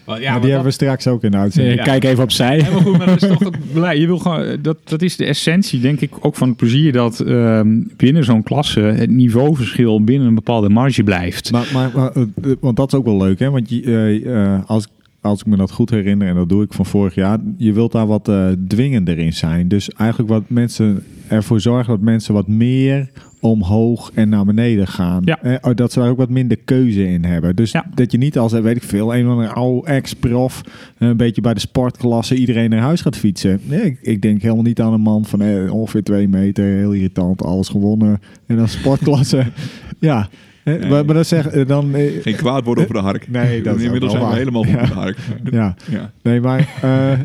D: Want
A: maar
D: ja, want
A: die
D: dat-
A: hebben we straks ook in de
B: Eh,
A: uitzending.
B: kijk even opzij.
D: ja, maar goed, maar dat is toch het beleid. Je wil gewoon, eh, dat, dat is de essentie, denk ik, ook van het plezier dat ehm, binnen zo'n klasse het niveauverschil binnen een bepaalde marge blijft.
A: Maar, maar, maar, eh, eh, want dat is ook wel leuk, hè? Want je, eh, eh, als, als ik me dat goed herinner, en dat doe ik van vorig jaar, je wilt daar wat eh, dwingender in zijn. Dus eigenlijk wat mensen ervoor zorgen dat mensen wat meer omhoog en naar beneden gaan.
D: Ja.
A: Eh, oh, dat ze daar ook wat minder keuze in hebben. Dus
D: Ja.
A: dat je niet als, eh, weet ik veel, een of andere oude ex-prof... eh, een beetje bij de sportklasse iedereen naar huis gaat fietsen. Nee, ik, ik denk helemaal niet aan een man van eh, ongeveer twee meter, heel irritant, alles gewonnen. En dan (laughs) sportklasse, ja... Eh, Maar, maar dat zeg, eh, dan, eh,
C: Geen kwaad worden over de
A: (laughs)
C: hark.
A: Nee, dat is
C: Inmiddels
A: ook
C: zijn
A: wel
C: we helemaal
A: waar.
C: goed op de hark.
A: Ja,
C: Ja.
A: nee, maar (laughs) eh, eh,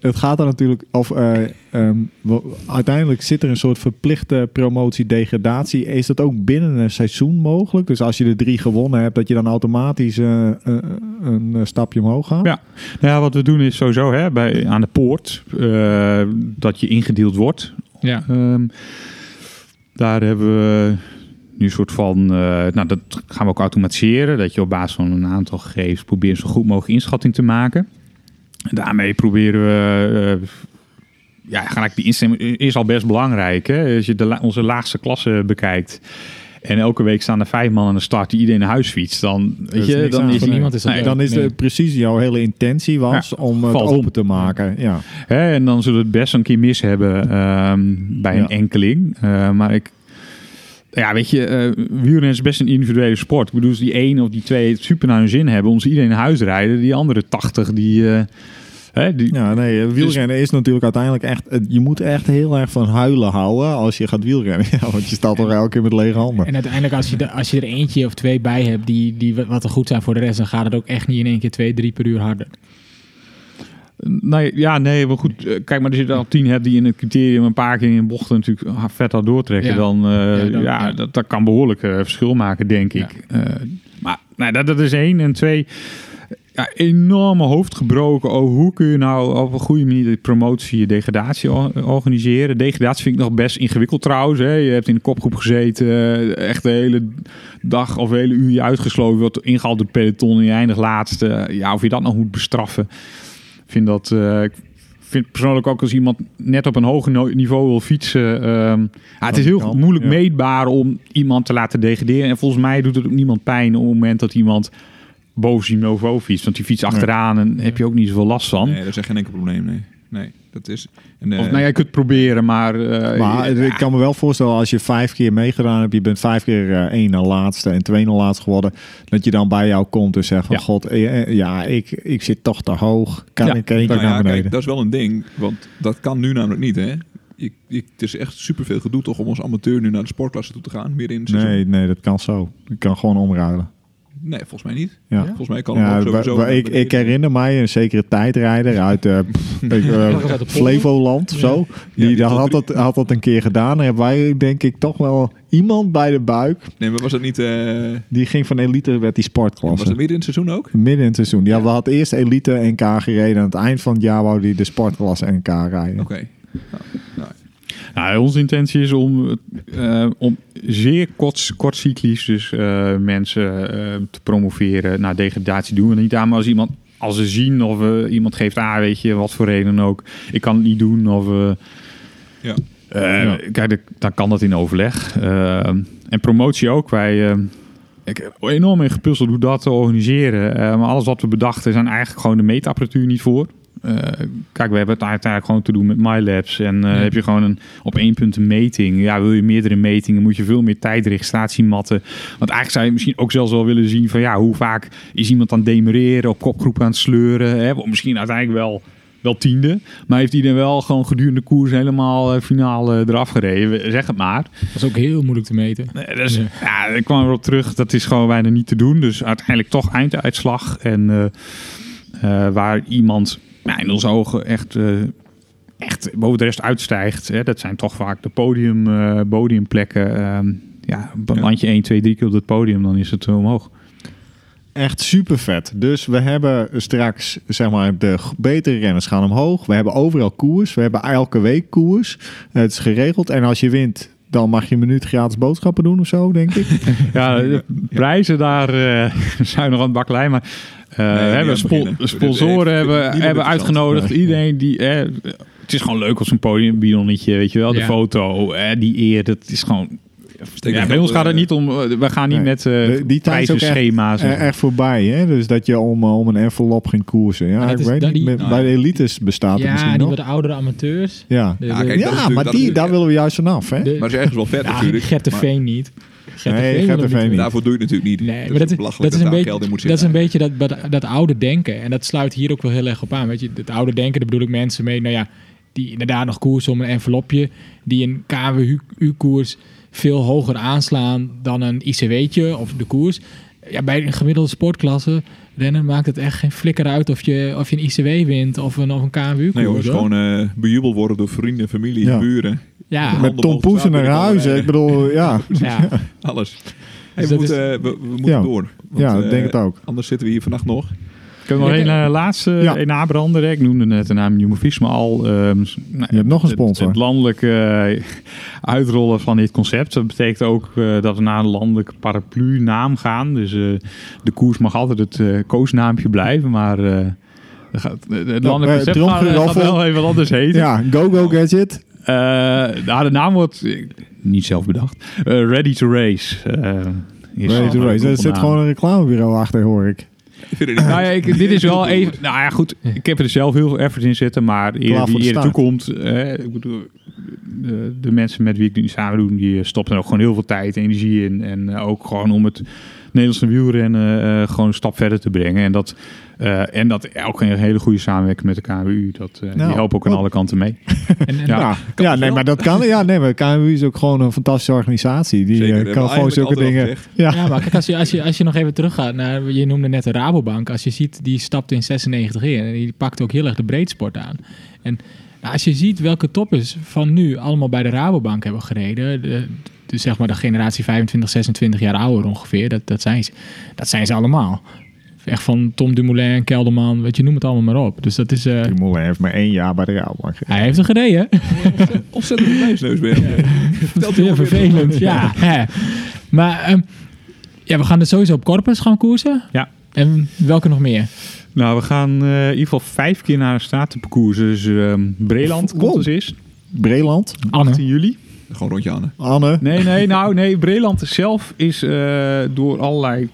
A: het gaat er natuurlijk. Of eh, ehm, wo- uiteindelijk zit er een soort verplichte promotie-degradatie. Is dat ook binnen een seizoen mogelijk? Dus als je de drie gewonnen hebt, dat je dan automatisch eh, eh, een eh, stapje omhoog gaat?
D: Ja. Nou ja, wat we doen is sowieso hè, bij, aan de poort eh, dat je ingedeeld wordt.
B: Ja.
D: Ehm, daar hebben we nu een soort van, eh, nou dat gaan we ook automatiseren. Dat je op basis van een aantal gegevens probeert zo goed mogelijk inschatting te maken. En daarmee proberen we, eh, ja, gaan eigenlijk die instemming is al best belangrijk. Hè? Als je de, la- onze laagste klasse bekijkt. En elke week staan er vijf man aan de start die iedereen naar huis fietst. Dan, weet
A: is
D: je,
A: niks
D: dan
A: aan
D: is
A: te
D: die-
A: doen.
B: niemand is dat
A: Nee, dan is
B: leuk,
A: de, precies jouw hele intentie was om het
D: valt
A: open
D: om.
A: te maken. Ja.
D: Hè, en dan zullen we het best een keer mis hebben ehm, bij een
A: Ja.
D: enkeling. Eh, maar ik... Ja, weet je, eh wielrennen is best een individuele sport. Ik bedoel, als die één of die twee het super naar hun zin hebben... om ze iedereen naar huis rijden, die andere tachtig, die... eh, hè, die
A: Ja, nee, eh, wielrennen is natuurlijk uiteindelijk echt... eh, Je moet echt heel erg van huilen houden als je gaat wielrennen. (laughs) Ja, want je staat toch elke keer met lege handen.
B: En uiteindelijk, als je, de- als je er eentje of twee bij hebt die, die wat wat er goed zijn voor de rest, dan gaat het ook echt niet in één keer twee, drie per uur harder.
D: Nee, ja, nee, maar goed. eh, Kijk, maar als je er al tien hebt die in het criterium een paar keer in bochten natuurlijk ah, vet hard doortrekken,
B: Ja.
D: dan, eh,
B: Ja,
D: ja,
B: dan- ja.
D: Dat, dat kan behoorlijk eh, verschil maken, denk
B: Ja.
D: ik. Eh, maar nou, dat, dat is één. En twee, ja, enorme hoofd gebroken. Oh, hoe kun je nou op een goede manier de promotie en degradatie or- organiseren? Degradatie vind ik nog best ingewikkeld trouwens. Hè. Je hebt in de kopgroep gezeten, eh, echt de hele dag of hele uur je uitgesloten. Je wordt ingehaald door het peloton en je eindigt laatste. Ja, of je dat nog moet bestraffen vind dat. eh, ik vind persoonlijk ook als iemand net op een hoger no- niveau wil fietsen. ehm, ah, het is heel
A: kan,
D: moeilijk
A: ja.
D: meetbaar om iemand te laten degraderen. En volgens mij doet het ook niemand pijn op het moment dat iemand boven zijn niveau fietst. Want die fiets achteraan en heb je ook niet zoveel last van.
C: Nee, dat is echt geen enkel probleem, nee. Nee, dat is... En, eh,
D: Of nou, jij kunt het proberen, maar... eh,
A: Maar
D: ja,
A: ik kan me wel voorstellen, als je vijf keer meegedaan hebt, je bent vijf keer eh, één na laatste en twee na laatste geworden, dat je dan bij jou komt en zegt van,
D: Ja.
A: god, eh, eh, ja, ik, ik zit toch te hoog. Kan
D: Ja.
A: ik één keer
C: nou ja,
A: naar beneden?
C: kijk, dat is wel een ding, want dat kan nu namelijk niet, hè? Ik, ik, het is echt superveel gedoe toch om als amateur nu naar de sportklasse toe te gaan, midden in het seizoen.
A: nee, nee, dat kan zo. Ik kan gewoon omruilen.
C: Nee, volgens mij niet.
A: Ja.
C: Volgens mij kan het
A: Ja,
C: ook
A: wa-
C: sowieso.
A: wa- ik, ik herinner mij een zekere tijdrijder uit
C: (laughs)
A: eh, pff, weet je wel,
B: Ergens uit de polder.
A: Flevoland, zo. Die,
C: die
A: had,
C: tot
A: dat, had dat een keer gedaan. En hebben wij denk ik toch wel iemand bij de buik.
C: Nee, maar was dat niet... eh,
A: Die ging van elite werd die
C: was
A: sportklasse.
C: dat midden in het seizoen ook?
A: Midden in het seizoen. Ja, we hadden eerst elite NK gereden. Aan het eind van het jaar wou die de sportklasse NK rijden.
C: Oké. Nou, nou,
D: Nou, onze intentie is om, eh, om zeer kort, kortcyclisch dus, eh, mensen eh, te promoveren. Nou, degradatie doen we niet aan, maar als iemand... Als ze zien of eh, iemand geeft aan, weet je, wat voor reden ook. Ik kan het niet doen of... eh,
C: ja.
D: Eh,
A: Ja.
D: Kijk, dan- dan kan dat in overleg. Eh, en promotie ook. Wij, eh, ik heb enorm in gepuzzeld hoe dat te organiseren. Eh, maar alles wat we bedachten, zijn eigenlijk gewoon de meetapparatuur niet voor. Eh, kijk, we hebben het uiteindelijk gewoon te doen met MyLabs. En eh,
B: Ja.
D: heb je gewoon een op één punt een meting. Ja, wil je meerdere metingen, moet je veel meer tijd, registratiematten. Want eigenlijk zou je misschien ook zelfs wel willen zien van ja, hoe vaak is iemand aan het demereren, op kopgroep aan het sleuren. Hè? Want Misschien uiteindelijk wel, wel tiende. Maar heeft hij dan wel gewoon gedurende de koers helemaal eh, finaal eh, eraf gereden? We- Zeg het maar.
B: Dat is ook heel moeilijk te meten.
D: Nee, Dus,
B: Ja.
D: ja. ik kwam erop terug. Dat is gewoon bijna niet te doen. Dus uiteindelijk toch einduitslag. En eh, eh, waar iemand nou, in onze ogen echt, eh, echt boven de rest uitstijgt. Hè, dat zijn toch vaak de podium, eh, podiumplekken. ehm, ja,
C: Ja.
D: landje 1, 2, 3 keer op het podium. Dan is het eh, omhoog.
A: Echt super vet. Dus we hebben straks, zeg maar, de g- betere renners gaan omhoog. We hebben overal koers. We hebben elke week koers. Het is geregeld. En als je wint, dan mag je een minuut gratis boodschappen doen of zo, denk ik.
D: Ja, de prijzen daar eh, (laughs) zijn nog aan het bakkelei. Maar
C: die
D: eh, we
C: aan
D: hebben
C: het
D: spo-
C: beginnen.
D: sponsoren
C: Die
D: hebben,
C: doen het
D: hebben
C: interessant.
D: uitgenodigd. Iedereen die... eh, het is gewoon leuk op zo'n podium, een bidonnetje, weet je wel. De
B: Ja.
D: foto, eh, die eer, dat is gewoon...
C: Steek
D: Ja,
C: het
D: bij
C: op,
D: ons gaat het
C: eh,
D: niet om... eh, We gaan niet
A: Nee.
D: met eh
A: (laughs) De- die tijd is ook echt-
D: prijzenschema's. en-
A: Eh, echt voorbij, hè? Dus dat je om, eh, om een envelop ging koersen. Ja,
B: Maar
A: ik
B: dat is-
A: weet
B: dat
A: niet.
B: die-
A: Bij- Bij de elites bestaat het
B: Ja,
A: misschien
B: die
A: nog.
B: wat oudere amateurs.
A: Ja,
B: De,
C: Ja,
B: de-
C: kijk,
A: ja
C: dat is
A: maar
C: natuurlijk-
A: die,
C: dat is-
A: daar willen we juist vanaf, hè?
B: de-
C: Maar het is ergens wel vet
B: ja,
C: natuurlijk.
B: Gert de
C: maar
B: Veen niet. Gert
A: Nee,
B: wil
A: Gert
B: dat
A: de Veen niet.
C: Daarvoor doe je het natuurlijk niet.
B: Nee, maar dat is, dat,
C: belachelijk
B: is een
C: daar
B: beetje,
C: geld in moet
B: dat, is een
C: zitten.
B: beetje dat, dat, dat oude denken. En dat sluit hier ook wel heel erg op aan. Weet je, het oude denken, daar bedoel ik mensen mee, nou ja, die inderdaad nog koers om een envelopje, die een KWU-koers veel hoger aanslaan dan een ICW'tje of de koers. Ja, bij een gemiddelde sportklasse rennen maakt het echt geen flikker uit of je, of je een ICW wint of een, of een KWU-koers.
C: Nee, hoor, het is gewoon eh, bejubeld worden door vrienden, familie,
A: Ja.
C: buren. (laughs)
B: ja,
A: Met Tom Poesen naar huis. hè? Ik bedoel, ja.
B: ja.
C: Alles. Hey,
B: Dus dat
C: we,
B: is-
C: moeten, eh, we, we moeten
A: Ja.
C: door. Want,
A: Ja, ik
C: eh,
A: denk het ook.
C: Anders zitten we hier vannacht nog.
D: Kunnen we nog
B: Ja,
D: één eh, laatste
A: Ja.
D: een nabrander? hè? Ik noemde net de naam Jumbo-Visma al. ehm, s- nou,
A: Je hebt nog een
D: het-
A: sponsor.
D: Het, landelijke eh, uitrollen van dit concept. Dat betekent ook eh, dat we naar een landelijke paraplu-naam gaan. Dus eh, de koers mag altijd het eh, koosnaampje blijven, maar... eh, er gaat- eh, het
A: Nou, eh,
D: landelijke concept gaat, eh, gaat
A: Tromgeroffel.
D: wel even anders heten.
A: Ja, go go gadget.
D: Eh, nou, de naam wordt eh, niet zelf bedacht. Eh, ready to race. eh, is
A: Ready to
D: een
A: race. Er
D: koepelnaam.
A: zit gewoon een reclamebureau achter, hoor ik.
C: Ik vind
B: (laughs)
C: het niet
D: Nou ja, ik, dit is
A: (laughs)
D: wel even. Nou ja, goed.
B: Ja.
D: Ik heb er zelf heel veel effort in zitten. Maar
A: Klaar
D: eer,
A: voor
D: wie
A: de
D: eerder
A: staart.
D: toekomt. eh, ik bedoel, de, de mensen met wie ik nu samen doe. die stoppen er ook gewoon heel veel tijd, energie in. En eh, ook gewoon om het Nederlandse wielrennen. eh, gewoon een stap verder te brengen. En dat, eh, en dat ook een hele goede samenwerking met de KWU. Dat, eh,
A: Nou,
D: die helpen ook aan
A: wat-
D: alle kanten mee.
B: En- en-
D: Ja.
A: Ja, ja nee, maar dat kan. Ja, nee, maar KMU is ook gewoon een fantastische organisatie. Die eh,
C: Zeker, dat hebben
A: kan
C: we
A: gewoon
C: eigenlijk
A: zulke
C: altijd al
A: dingen.
C: gezegd.
A: Ja,
B: Ja, maar kijk, als je, als, je, als je nog even teruggaat naar... Je noemde net de Rabobank. Als je ziet, die stapte in 96 in. En die pakte ook heel erg de breedsport aan. En nou, als je ziet welke toppers van nu allemaal bij de Rabobank hebben gereden... De, de- zeg maar de generatie 25, 26 jaar ouder ongeveer. Dat, dat, zijn, ze, dat zijn ze allemaal. Echt van Tom Dumoulin, Kelderman, weet je, noem het allemaal maar op. Dus dat is... eh,
A: Moelen heeft maar één jaar bij de Rabobank gereden.
B: hij heeft er gereden.
C: Ontzettend
B: (laughs)
C: een wijsneus ben je.
B: Dat is heel vervelend, ja. hè. Maar ehm, ja, we gaan dus sowieso op Corpus gaan koersen.
D: Ja.
B: En welke nog meer?
D: Nou, we gaan eh, in ieder geval vijf keer naar een statenparcours. Dus ehm, Breland komt
A: Wow.
D: als eerst.
A: Breland,
B: Anne.
D: 10 juli.
C: Gewoon rondje aan.
A: Anne.
D: Nee, nee, nou nee. Breland zelf is eh, door allerlei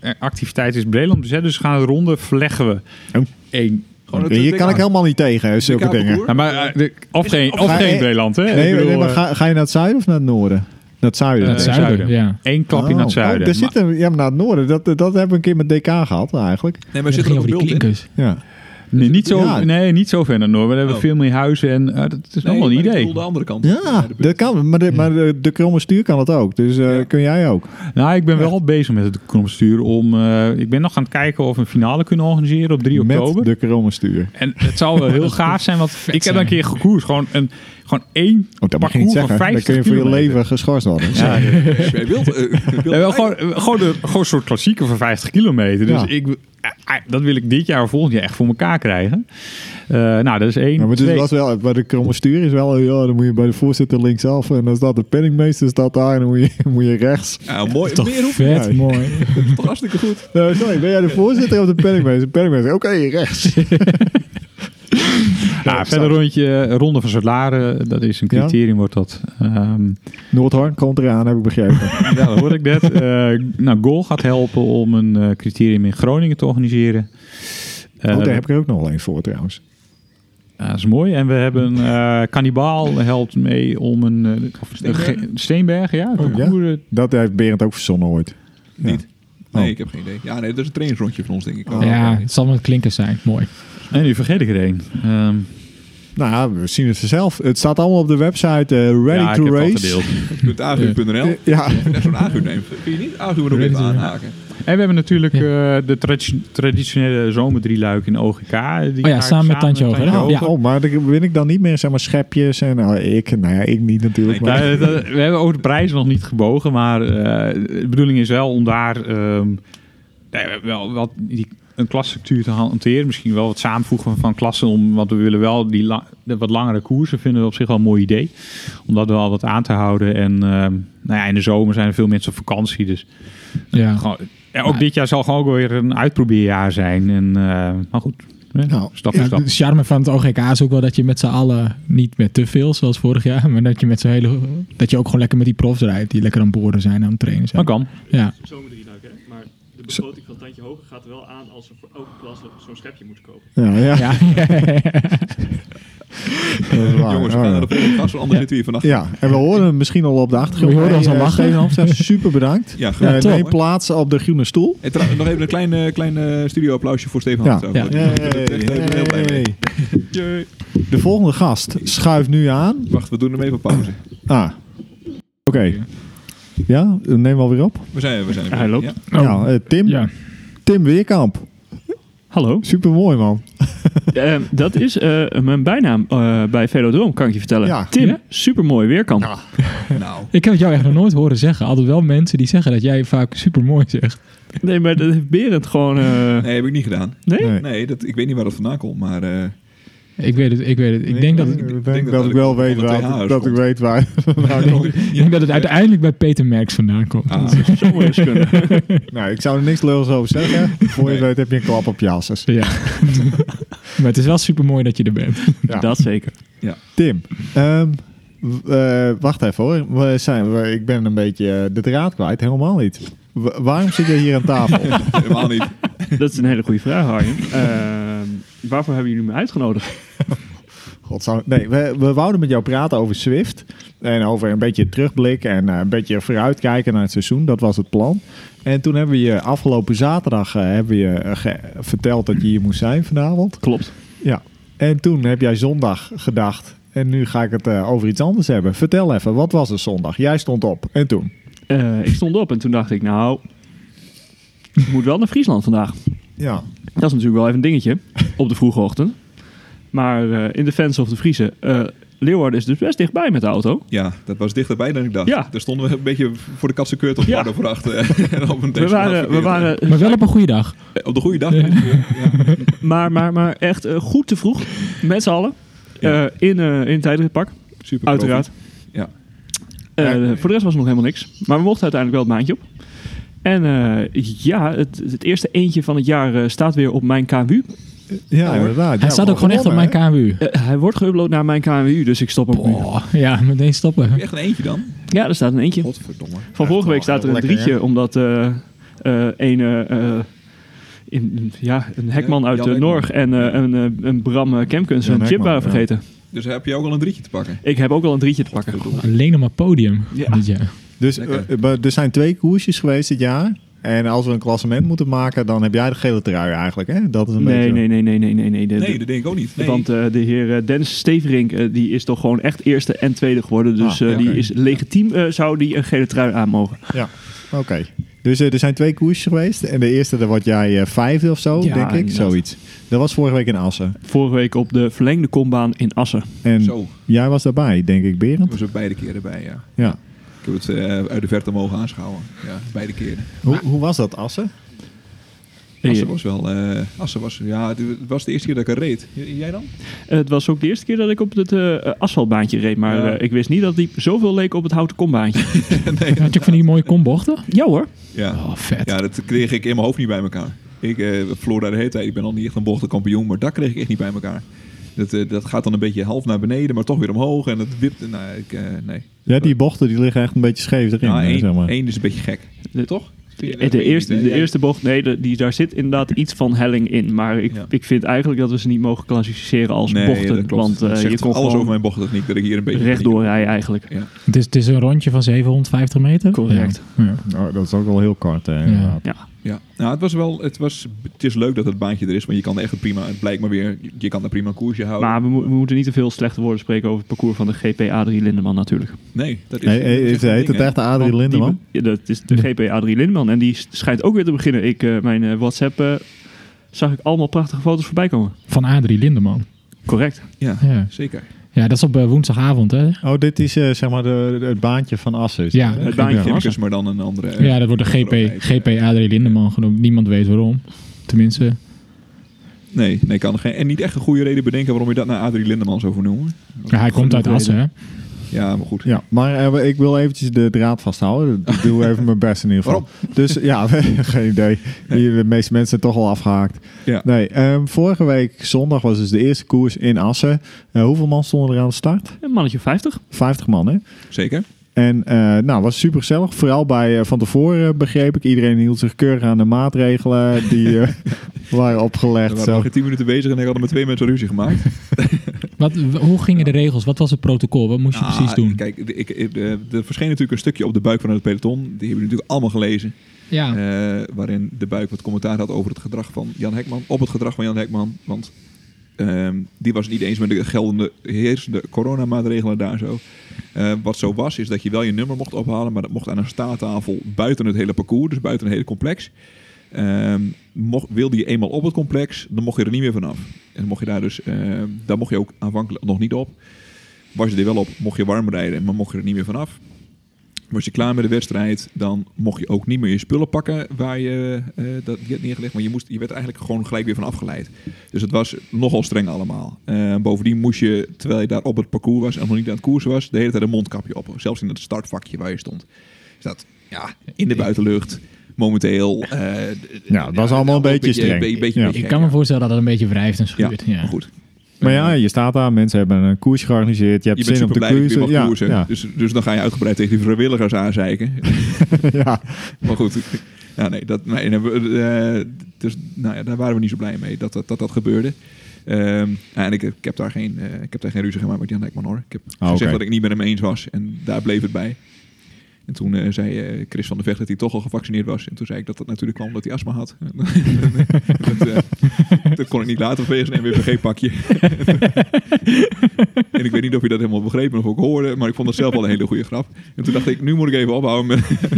D: eh, activiteiten is Breland bezet. Dus we gaan de ronde verleggen we.
A: Oh.
D: Eén
C: Gewoon het-
A: je
C: het-
A: kan ik helemaal niet tegen, hè, zulke
C: Kamerkoer?
A: dingen.
D: Nou, maar, eh, de- of
C: Is-
D: geen,
C: of
D: of
A: ga-
D: geen
A: eh,
D: Breland, hè? Ik
A: Nee,
D: bedoel,
A: nee, maar
D: eh,
A: ga, ga je naar het zuiden of naar het noorden? Naar het zuiden.
D: Eh,
B: het zuiden,
D: zuiden.
B: ja.
D: één klapje naar
A: Oh,
D: het
A: oh,
D: zuiden.
A: daar zitten we- ja, maar naar het noorden. Dat, eh, dat hebben we een keer met DK gehad eigenlijk.
C: Nee, maar
B: Het
C: zit
B: ging
C: er ook
B: over
C: een
B: die
C: beeld in?
B: klinkers.
A: Ja.
D: nee, niet zo,
A: Ja.
D: nee, niet zo ver naar Noord. We hebben
C: Oh.
D: veel meer huizen en eh, dat is
C: Nee,
D: allemaal
C: maar
D: een
C: ik
D: idee.
C: bedoel de andere kant.
A: Ja, dat kan. Maar de, maar de, de kromme stuur kan het ook. Dus eh, kun jij ook.
D: Nou, ik ben wel bezig met het knopstuur om. eh, ik ben nog aan het kijken of we een finale kunnen organiseren op 3 oktober.
A: Met de kromme stuur. Oh,
D: En het zou
A: (laughs)
D: wel heel gaaf zijn, want ik heb
B: zijn.
D: dan een keer gekoerst. Gewoon, een, gewoon één
A: Oh, dat mag je niet
D: parcours van
A: zeggen. Dan
D: 50
A: kun je voor je
D: kilometer.
A: leven geschorst
D: (laughs)
A: worden.
D: Ja,
C: Jij
B: (laughs)
C: wilt, eh, je wilt
D: Ja, wel gewoon, gewoon, een, gewoon een soort klassieker van 50 kilometer. Dus
A: Ja.
D: ik, eh, eh, dat wil ik dit jaar of volgend jaar echt voor elkaar krijgen. Eh, nou, dat is één.
A: Ja, maar het
D: twee.
A: is was wel, maar de kromme stuur is wel, ja, dan moet je bij de voorzitter linksaf en dan staat de penningmeester staat daar en dan moet je, (laughs) moet je rechts.
C: Ja, nou, mooi.
B: Toch
C: meer hoeft
B: vet
A: Nee.
B: mooi.
C: het toch hartstikke goed.
A: Eh, sorry, ben jij de voorzitter of de penningmeester? Penningmeester, oké,
D: (laughs)
A: rechts.
D: Ja, Nou, verder rondje, eh, ronde van Zuid-Laren. Dat is een
A: Ja.
D: criterium, wordt dat. Ehm,
A: Noordhoorn komt eraan, heb ik begrepen. Oh,
D: ja, dan hoor ik
A: (laughs)
D: dat. Eh, nou, Goal gaat helpen om een eh, criterium in Groningen te organiseren. Eh,
A: Oh, daar heb ik er ook nog wel een voor trouwens.
D: Ja, dat is mooi. En we hebben eh Kannibaal helpt mee om een... eh, of-
C: Steenberg?
D: ge- Steenberg, ja. een
A: Oh, ja?
D: parcours, eh,
A: Dat heeft Berend ook verzonnen ooit. Ja.
C: Niet. Nee,
A: Oh.
C: ik heb geen idee. Ja, nee, dat is een trainingsrondje van ons, denk ik.
A: Oh,
B: ja,
C: oké.
B: het zal met klinkers zijn. Mooi.
D: En nu vergeet ik er één. Ehm,
A: Nou, ja, we zien het zelf. Het staat allemaal op de website eh, Ready
D: ja,
A: to
D: ik heb het al
A: Race.
D: gedeeld.
C: Punt agu.nl.
A: Eh, ja,
C: Echt zo'n agu neemt. Kun je niet agu maar ook even aanhaken.
D: En we hebben natuurlijk
B: Ja.
D: eh, de tradi- traditionele zomerdrieluik in OGK. eh, Die
B: Oh ja, samen met Tandje Hoger, hè?
A: Oh,
B: Ja.
A: oh, maar dan win ik dan niet meer, zeg maar, schepjes en... nou, ik, nou ja, ik niet natuurlijk.
C: Nee,
A: Maar,
D: Nou, dat- we hebben ook de prijzen nog niet gebogen, maar eh, de bedoeling is wel om daar ehm, nee, wel wat die, een klasstructuur te hanteren. Misschien wel wat samenvoegen van klassen, om, want we willen wel die la- de wat langere koersen vinden we op zich wel een mooi idee. Om dat wel wat aan te houden. En ehm, nou ja, in de zomer zijn er veel mensen op vakantie, dus
B: Ja.
D: gewoon, ja, ook dit jaar zal gewoon ook weer een uitprobeerjaar zijn. En, eh, maar goed, hè,
A: Nou,
D: stap voor
B: Ja,
D: stap.
B: de charme van het OGK is ook wel dat je met z'n allen niet met te veel, zoals vorig jaar, maar dat je met z'n hele, dat je ook gewoon lekker met die profs rijdt die lekker aan boren zijn en aan het trainen zijn.
D: Dat kan.
B: Ja,
E: zomer drie hè? Maar de begroting van Tandje Hoger gaat er wel aan als ze voor elke klas nog zo'n schepje moeten kopen.
A: ja, ja,
B: (laughs) ja.
A: dat is waar.
C: Jongens, we
A: Oh,
C: gaan
A: ja.
C: naar de volgende gast, want anders zitten we hier vannacht.
A: Ja, en we horen hem misschien al op de achtergrond.
B: We horen ons al
A: eh,
B: lachen.
A: Steven Hamstra, super bedankt.
C: Ja,
A: Eh,
C: geweldig.
B: top.
A: neem plaats op de groene stoel.
C: En trouw- nog even een klein, eh, klein eh, studio-applausje voor Stefan.
A: Ja.
C: Hartog.
B: Ja.
C: Dat-
A: Yay.
C: dat- dat- echt, eh, ik ben heel blij mee.
A: Yay. De volgende gast schuift nu aan.
C: Wacht, we doen hem even pauze.
A: Ah, oké. Ja, neem wel weer op.
C: We zijn, we zijn
D: Hij loopt.
C: Ja.
A: Ja, eh, Tim,
B: (laughs) Oh. ja.
A: Tim Weerkamp.
D: Hallo.
A: Super mooi man.
E: Ehm, dat is eh, mijn bijnaam eh, bij Velodroom, kan ik je vertellen.
A: Ja.
E: Tim,
B: Ja?
E: supermooi weerkamp.
C: Nou,
B: Ik heb het jou echt nog nooit horen zeggen. Altijd wel mensen die zeggen dat jij vaak super mooi zegt.
E: Nee, maar dat heeft Berend gewoon... eh,
C: nee, heb ik niet gedaan.
E: nee?
A: Nee.
C: Nee, dat, ik weet niet waar dat vandaan komt, maar... eh,
B: Ik weet het, ik weet het. Ik denk dat het,
A: ik,
B: ik
A: denk
C: denk
A: dat,
C: dat
A: ik wel
C: ik
A: weet
C: onder
A: waar,
C: TH's
A: dat ik
C: komt.
A: weet
C: (laughs)
A: waar. nou,
B: denk dat het uiteindelijk bij Peter Merks vandaan komt.
C: Ah.
E: Zo moet het eens kunnen.
A: nou, ik zou er niks leuks over zeggen. Voor je het weet heb je een klap op je asses.
B: Ja. (laughs) maar het is wel super mooi dat je er bent.
A: Ja.
E: Dat zeker.
A: Tim, ehm, w- eh, wacht even hoor. We zijn, we- ik ben een beetje eh, de draad kwijt. Helemaal niet. Wa- waarom zit jij hier aan tafel?
C: helemaal niet.
E: Dat is een hele goede vraag, Arjen. Ehm, waarvoor hebben jullie me uitgenodigd?
A: Godzang. Nee, we, we wouden met jou praten over Swift. En over een beetje terugblik en eh, een beetje vooruitkijken naar het seizoen. Dat was het plan. En toen hebben we je afgelopen zaterdag eh, hebben we je, eh, ge- verteld dat je hier moest zijn vanavond.
E: Klopt.
A: Ja. En toen heb jij zondag gedacht. En nu ga ik het eh, over iets anders hebben. Vertel even, wat was er zondag? Jij stond op. En toen?
E: Eh, ik stond op en toen dacht ik, nou, ik moet wel naar Friesland vandaag.
A: Ja.
E: Dat is natuurlijk wel even een dingetje (laughs) op de vroege ochtend. Maar eh, in de fans of de Friese, eh, Leeuwarden is dus best dichtbij met de auto.
C: Ja, dat was dichterbij dan ik dacht.
E: Ja.
C: Daar stonden we een beetje voor de katse keurt eh, (laughs) op
E: Ja.
C: ja. voor achter. en op een
E: We waren, we
C: (laughs)
E: waren
B: Maar wel op een goede dag.
C: Op de goede dag. Ja.
E: maar, maar, maar echt eh, goed te vroeg, met z'n allen,
C: Ja.
E: Eh, in, eh in het tijdritpark,
C: Super
E: uiteraard.
C: Ja.
E: Eh,
A: Ja.
E: Voor de rest was er nog helemaal niks. Maar we mochten uiteindelijk wel het maandje op. En eh, ja, het, het eerste eentje van het jaar eh, staat weer op mijn KMU.
A: Ja, inderdaad.
B: Hij
A: Ja,
B: staat ook gewoon echt op mijn
A: gewonnen,
B: KMU.
E: Eh, hij wordt geüpload naar mijn KMU, dus ik stop hem nu.
B: Oh, ja, meteen stoppen.
C: Heb je echt een eentje dan?
E: Ja, er staat een eentje.
C: Godverdomme.
E: Van vorige week staat er een
A: lekker,
E: drietje, omdat eh eh een eh, eh, in- ja, een hekman
C: Ja,
E: uit
C: Jan
E: eh,
C: Hekman.
E: Norg en eh, een, eh, een Bram eh, Kemkens
A: Jan
E: een chip
A: Hekman,
E: waren
A: ja.
E: vergeten.
C: Dus heb je ook al een drietje te pakken.
E: Ik heb ook wel een drietje te pakken.
B: Alleen nog maar podium.
E: Ja.
B: dit jaar.
A: Dus
C: Lekker.
A: eh, maar er zijn twee koersjes geweest dit jaar. En als we een klassement moeten maken, dan heb jij de gele trui eigenlijk. Hè? Dat is een
E: Nee,
A: beetje...
E: nee, nee, nee, nee, nee. nee. De-
C: Nee,
E: de-
C: dat denk ik ook niet. Nee.
E: Want eh, de heer eh, Dennis Steverink eh, die is toch gewoon echt eerste en tweede geworden. Dus
A: Ah,
E: eh,
A: ja,
E: die
A: oké.
E: is legitiem, eh, zou die een gele trui aan mogen.
A: Oké. Dus eh, er zijn twee koersjes geweest. En de eerste, daar word jij eh, vijfde of zo,
E: Ja,
A: denk ik.
E: inderdaad.
A: Zoiets. Dat was vorige week in Assen.
E: Vorige week op de verlengde kombaan in Assen.
A: En
C: Zo,
A: jij was daarbij, denk ik, Berend.
C: we zijn beide keren bij, ja.
A: Ja.
C: Ik heb het eh, uit de verte mogen aanschouwen. Ja, beide keren.
A: Hoe, hoe was dat, Assen?
C: Assen
E: Eh,
C: was wel... eh Assen was... Ja, het- het was de eerste keer dat ik er reed. J- Jij dan?
E: eh, het was ook de eerste keer dat ik op het eh, asfaltbaantje reed. Maar
C: Ja.
E: eh, ik wist niet dat die zoveel leek op het houten kombaantje.
B: Had je ook van die mooie kombochten?
E: ja hoor.
C: Ja.
B: Oh, vet.
C: ja, dat kreeg ik in mijn hoofd niet bij elkaar. Ik eh verloor daar de hele tijd. Ik ben al niet echt een bochtenkampioen, maar dat kreeg ik echt niet bij elkaar. Dat, eh, dat gaat dan een beetje half naar beneden, maar toch weer omhoog. En het wipt... Nou, ik, eh, nee.
A: Ja, die bochten die liggen echt een beetje scheef erin.
C: Nou,
A: hè,
C: één,
A: zeg maar.
C: één is een beetje gek.
E: De-
C: Toch? Vind je
E: De,
C: dat
E: de
C: een
E: eerste,
C: beetje-
E: de eerste bocht, nee, de- die, daar zit (clears throat) inderdaad iets van helling in. Maar ik,
C: Ja.
E: ik vind eigenlijk dat we ze niet mogen classificeren als
C: Nee,
E: bochten.
C: dat klopt.
E: Want eh,
C: Dat zegt
E: je kon
C: alles over
E: gewoon
C: mijn bochttechniek dat ik hier een beetje...
E: rechtdoor rijden eigenlijk.
B: Het, is, het is een rondje van 750 meter.
E: Correct.
B: Ja. Ja.
A: Nou, dat is ook wel heel kort, hè, inderdaad.
C: Ja, nou, het was wel, het was, het is leuk dat het baantje er is, want je kan er echt een prima, het blijkt maar weer, je kan er prima een koersje houden.
E: Maar we, mo- we moeten niet te veel slechte woorden spreken over het parcours van de GPA3 Lindeman natuurlijk.
C: nee, dat is.
A: Hey, hey,
C: dat is
A: heet
C: echt een
A: heet
C: ding,
A: het
C: hè.
A: echt Adrie
E: Want die
A: Lindeman?
E: be- ja, dat is de GPA3 Lindeman. En die s- schijnt ook weer te beginnen. Ik, eh, mijn eh, WhatsApp eh, zag ik allemaal prachtige foto's voorbij komen.
B: Van Adrie Lindeman.
E: Correct.
C: Ja,
B: Ja,
C: zeker.
B: ja dat is op eh, woensdagavond, hè?
A: Oh, dit is eh, zeg maar de, de- het baantje van Assen. is
B: Ja,
A: dit, hè?
E: het baantje.
C: Gimkes, maar dan een andere.
B: Ja, dat wordt de GP,
C: grootheid.
B: GP Adrie Lindeman genoemd. Niemand weet waarom. Tenminste,
C: Nee, nee, kan er geen. En niet echt een goede reden bedenken waarom je dat naar Adrie Lindeman zou vernoemen.
B: ja, hij komt uit
E: reden.
B: Assen, hè?
C: Ja, maar goed.
A: Ja, maar eh, ik wil eventjes de draad (laughs) vasthouden. Ik doe even mijn best in ieder geval. Dus ja, (laughs) geen idee. Hier, De meeste mensen zijn toch al afgehaakt.
C: Ja.
A: Nee, ehm, vorige week zondag was dus de eerste koers in Assen. Eh, hoeveel man stonden er aan de start?
E: Een mannetje of 50.
A: 50 man, hè?
C: Zeker.
A: En eh nou, was super gezellig. Vooral bij eh, van tevoren eh, begreep ik. Iedereen hield zich keurig aan de maatregelen die
C: (laughs)
A: eh, waren
C: we
A: opgelegd.
C: waren
A: Zo.
C: nog tien minuten bezig en ik had er met twee mensen ruzie gemaakt.
B: Wat, w- hoe gingen de regels? Wat was het protocol? Wat moest je
C: Ah,
B: precies doen?
C: Kijk, ik, ik- eh, er verscheen natuurlijk een stukje op de buik van het peloton. Die hebben jullie natuurlijk allemaal gelezen.
B: Ja,
C: Eh, waarin de buik wat commentaar had over het gedrag van Jan Hekman. Op het gedrag van Jan Hekman. Want ehm, die was het niet eens met de geldende heersende coronamaatregelen daar zo. Eh, wat zo was, is dat je wel je nummer mocht ophalen. Maar dat mocht aan een staattafel buiten het hele parcours. Dus buiten het hele complex. Ehm, mocht, wilde je eenmaal op het complex, dan mocht je er niet meer vanaf. En dan mocht je daar dus, ehm, daar mocht je ook aanvankelijk nog niet op. Was je er wel op, mocht je warm rijden, maar mocht je er niet meer vanaf. Was je klaar met de wedstrijd, dan mocht je ook niet meer je spullen pakken waar je eh, dat die had neergelegd. Maar je, moest, je werd eigenlijk gewoon gelijk weer van afgeleid. Dus het was nogal streng allemaal. Eh, bovendien moest je, terwijl je daar op het parcours was en nog niet aan het koersen was, de hele tijd een mondkapje op. Zelfs in het startvakje waar je stond. Dus dat, ja, in de buitenlucht, momenteel. eh, d-
A: Ja, het Nou, was allemaal een beetje streng.
C: nou, Een beetje,
A: Ja.
C: beetje
B: ik
C: gek,
B: kan me
C: ja.
B: voorstellen dat het een beetje wrijft en
C: Ja,
B: schuurt. Ja,
C: maar goed.
A: Maar ja, je staat daar. Mensen hebben een koers georganiseerd. Je hebt
C: Je bent
A: zin om
C: super
A: te
C: blij dat je weer
A: koersen.
C: mag
A: Ja,
C: koersen. (laughs)
A: ja.
C: Dus, dus dan ga je uitgebreid tegen die vrijwilligers aanzeiken.
A: (laughs) ja.
C: Maar goed, ja, nee, dat, nee, nee, we- eh, dus, nou ja, daar waren we niet zo blij mee dat dat, dat, dat gebeurde. Ehm, ja, en ik, ik, heb daar geen, eh, ik heb daar geen ruzie gemaakt met Jan Dijkman hoor. Ik heb
A: Ah,
C: gezegd
A: oké.
C: dat ik niet met hem eens was en daar bleef het bij. En toen eh, zei eh, Chris van der Vecht dat hij toch al gevaccineerd was. En toen zei ik dat dat natuurlijk kwam omdat hij astma had. (laughs) dat, eh, dat kon ik niet laten vanwege zijn NWPG-pakje. en ik weet niet of je dat helemaal begreep of ook hoorde. Maar ik vond dat zelf al een hele goede grap. En toen dacht ik, nu moet ik even ophouden met,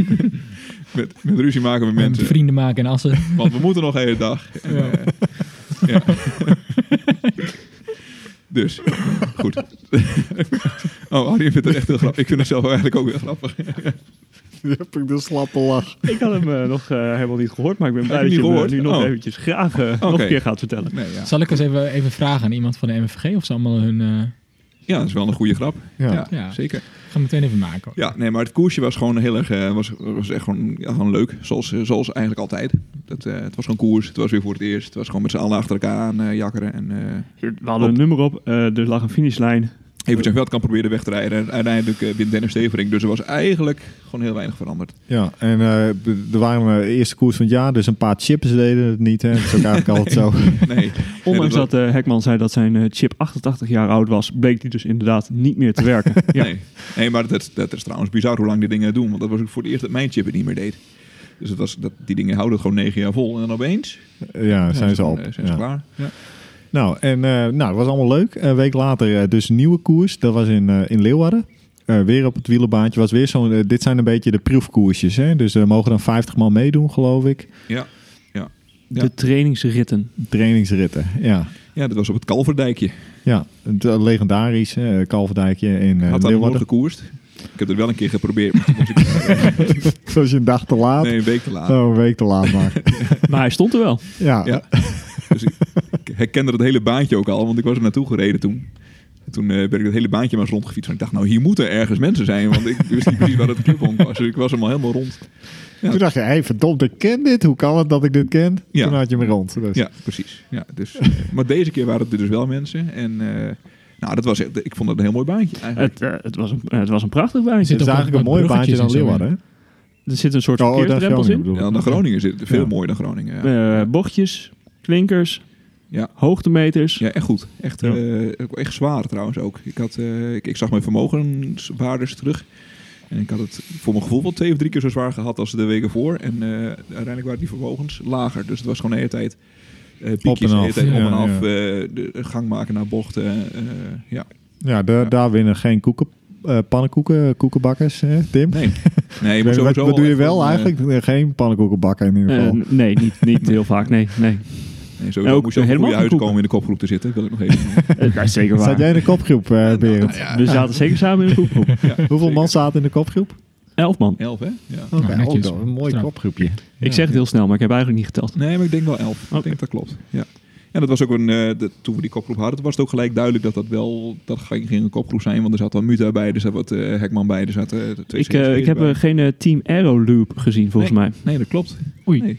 C: met, met ruzie maken met eh,
B: Met eh,
C: mensen.
B: vrienden maken in Assen.
C: Want we moeten nog een hele dag. En, eh, ja. dus, goed. oh, Arjen vindt het echt heel grappig. Ik vind het zelf eigenlijk ook heel grappig.
A: heb ik de slappe lach.
E: Ik had hem eh, nog eh, helemaal niet gehoord, maar ik ben blij
C: je
E: dat je
C: hem
E: hem
C: niet
E: eh,
C: gehoord?
E: nu nog
C: Oh.
E: eventjes graag eh, nog
C: Oké.
E: een keer gaat vertellen.
C: Nee, ja.
B: Zal ik eens even, even vragen aan iemand van de MVG of ze allemaal hun... eh,
C: ja, dat is wel een goede grap.
A: Ja.
C: Ja,
B: Ja.
C: zeker.
B: Ik ga meteen even maken. hoor.
C: Ja, nee, maar het koersje was gewoon heel erg, eh, was, was echt gewoon, ja, gewoon leuk. Zoals, eh, zoals eigenlijk altijd. Dat, eh, het was gewoon koers. Het was weer voor het eerst. Het was gewoon met z'n allen achter elkaar aan eh, jakkeren. En, eh,
E: We hadden een nummer op, eh, er lag een finishlijn.
C: eventjes veld kan proberen weg te rijden. En uiteindelijk eh, wint Dennis Stevering. Dus er was eigenlijk gewoon heel weinig veranderd.
A: Ja, en eh, b- er waren eh, eerste koers van het jaar, dus een paar chips deden het niet. Hè. Dat is ook eigenlijk altijd
C: (laughs)
A: zo. (laughs)
C: Nee.
E: Ondanks
C: Ja,
E: dat eh, Hekman zei dat zijn eh, chip 88 jaar oud was, bleek die dus inderdaad niet meer te werken. ja.
C: (laughs) Nee. nee, maar dat, dat is trouwens bizar hoe lang die dingen doen. Want dat was ook voor het eerst dat mijn chip het niet meer deed. Dus dat was, dat, die dingen houden het gewoon negen jaar vol. En dan opeens
A: Ja, zijn ze op.
C: eh, zijn ze
A: Ja.
C: klaar.
A: Nou, en eh, nou, het was allemaal leuk. Een week later eh, dus een nieuwe koers. Dat was in, eh, in Leeuwarden. Eh, weer op het wielerbaantje. Was weer zo'n, eh, dit zijn een beetje de proefkoersjes. Hè? Dus er mogen dan 50 man meedoen, geloof ik.
C: Ja. Ja.
E: De trainingsritten.
A: Trainingsritten, ja.
C: ja, dat was op het Kalverdijkje.
A: Ja, het eh, legendarisch eh, Kalverdijkje in eh,
C: Had daar nog
A: Leeuwarden.
C: gekoerst. Ik heb het wel een keer
A: (laughs)
C: geprobeerd. maar toen was ik-
A: Zoals je een dag te laat.
C: nee, een week te laat.
A: Oh, een week te laat maar.
C: (laughs)
E: Maar hij stond er wel.
A: ja.
C: Ja. Dus ik, ik herkende dat hele baantje ook al, want ik was er naartoe gereden toen. En Toen eh, ben ik dat hele baantje maar eens rondgefietst. En ik dacht, nou, hier moeten ergens mensen zijn. Want ik wist niet precies waar het clubhonk was. Dus ik was helemaal helemaal rond.
A: Toen dacht je, hé, hey, verdomd, ik ken dit. Hoe kan het dat ik dit ken?
C: Ja.
A: Toen had je me rond. Dus.
C: Ja, precies. Ja, dus, eh, maar deze keer waren het er dus wel mensen. En eh, nou, dat was echt, ik vond het een heel mooi baantje eigenlijk.
E: Het, eh, het, was, een, eh, het was een prachtig baantje.
A: Het
B: Zit
A: is
B: ook
A: eigenlijk
B: wat
A: een mooi baantje
B: bruggetjes
A: dan
B: en zo
A: Leeuwarden. hè?
E: Er zitten een soort
A: Oh, oh, daar is
E: verkeersdrempels
A: Groningen,
E: in.
A: bedoel ik.
C: Ja, naar Groningen zit het. Veel
A: Ja.
C: mooier dan Groningen. Ja,
E: Eh, bochtjes, klinkers,
C: Ja.
E: hoogtemeters.
C: ja echt goed. Echt,
A: Ja.
C: eh, ook echt zwaar trouwens ook. Ik, had, eh, ik, ik zag mijn vermogenswaardes terug. En ik had het voor mijn gevoel wel twee of drie keer zo zwaar gehad als de weken voor. En eh, uiteindelijk waren die vermogens lager. Dus het was gewoon de hele tijd eh piekjes, de hele
A: af.
C: tijd op
A: Ja,
C: en af.
A: ja.
C: eh, de, de gang maken naar bochten. eh, ja.
A: Ja, daar-
C: Ja.
A: daar winnen geen koeken, eh, pannenkoeken, koekenbakkers, hè, Tim.
C: Nee,
A: (laughs)
C: nee je moet
A: Wat-
C: sowieso
A: wat, doe je
C: even
A: wel
C: een, eh,
A: eigenlijk? Nee, Geen pannenkoeken bakken in ieder
E: Eh,
A: geval.
E: n- nee, niet, niet heel vaak. Nee, nee.
C: eh, Nee, sowieso
E: Ook
C: moest je ook
E: helemaal
C: helemaal
E: geen
C: uitkomen
E: koeken.
C: in de kopgroep te zitten. Dat wil ik nog even. (laughs)
E: Eh, dat is zeker
A: Zat
E: waar.
A: jij in de kopgroep, eh, Berend?
E: We zaten zeker samen in een koepgroep.
A: Hoeveel man zaten in de kopgroep?
E: Elf man.
C: elf, hè? Ja.
A: Oké,
B: Nou, netjes.
A: ook wel een mooi
B: Trouw.
A: kopgroepje.
E: Ik zeg het heel snel, maar ik heb eigenlijk niet geteld.
C: Nee, maar ik denk wel elf.
E: Oké.
C: Ik denk dat klopt. Ja. En dat was ook een. eh, dat- toen we die kopgroep hadden, was het ook gelijk duidelijk dat dat wel. Dat ging, ging een kopgroep zijn, want er zat wel Muta bij, er zat wat eh, Hekman bij, er zat eh, twee
E: Ik, eh,
C: CSP's
E: ik heb
C: bij.
E: eh, geen eh, Team Aero Loop gezien, volgens mij.
C: Nee, dat klopt.
B: Oei.
C: Nee.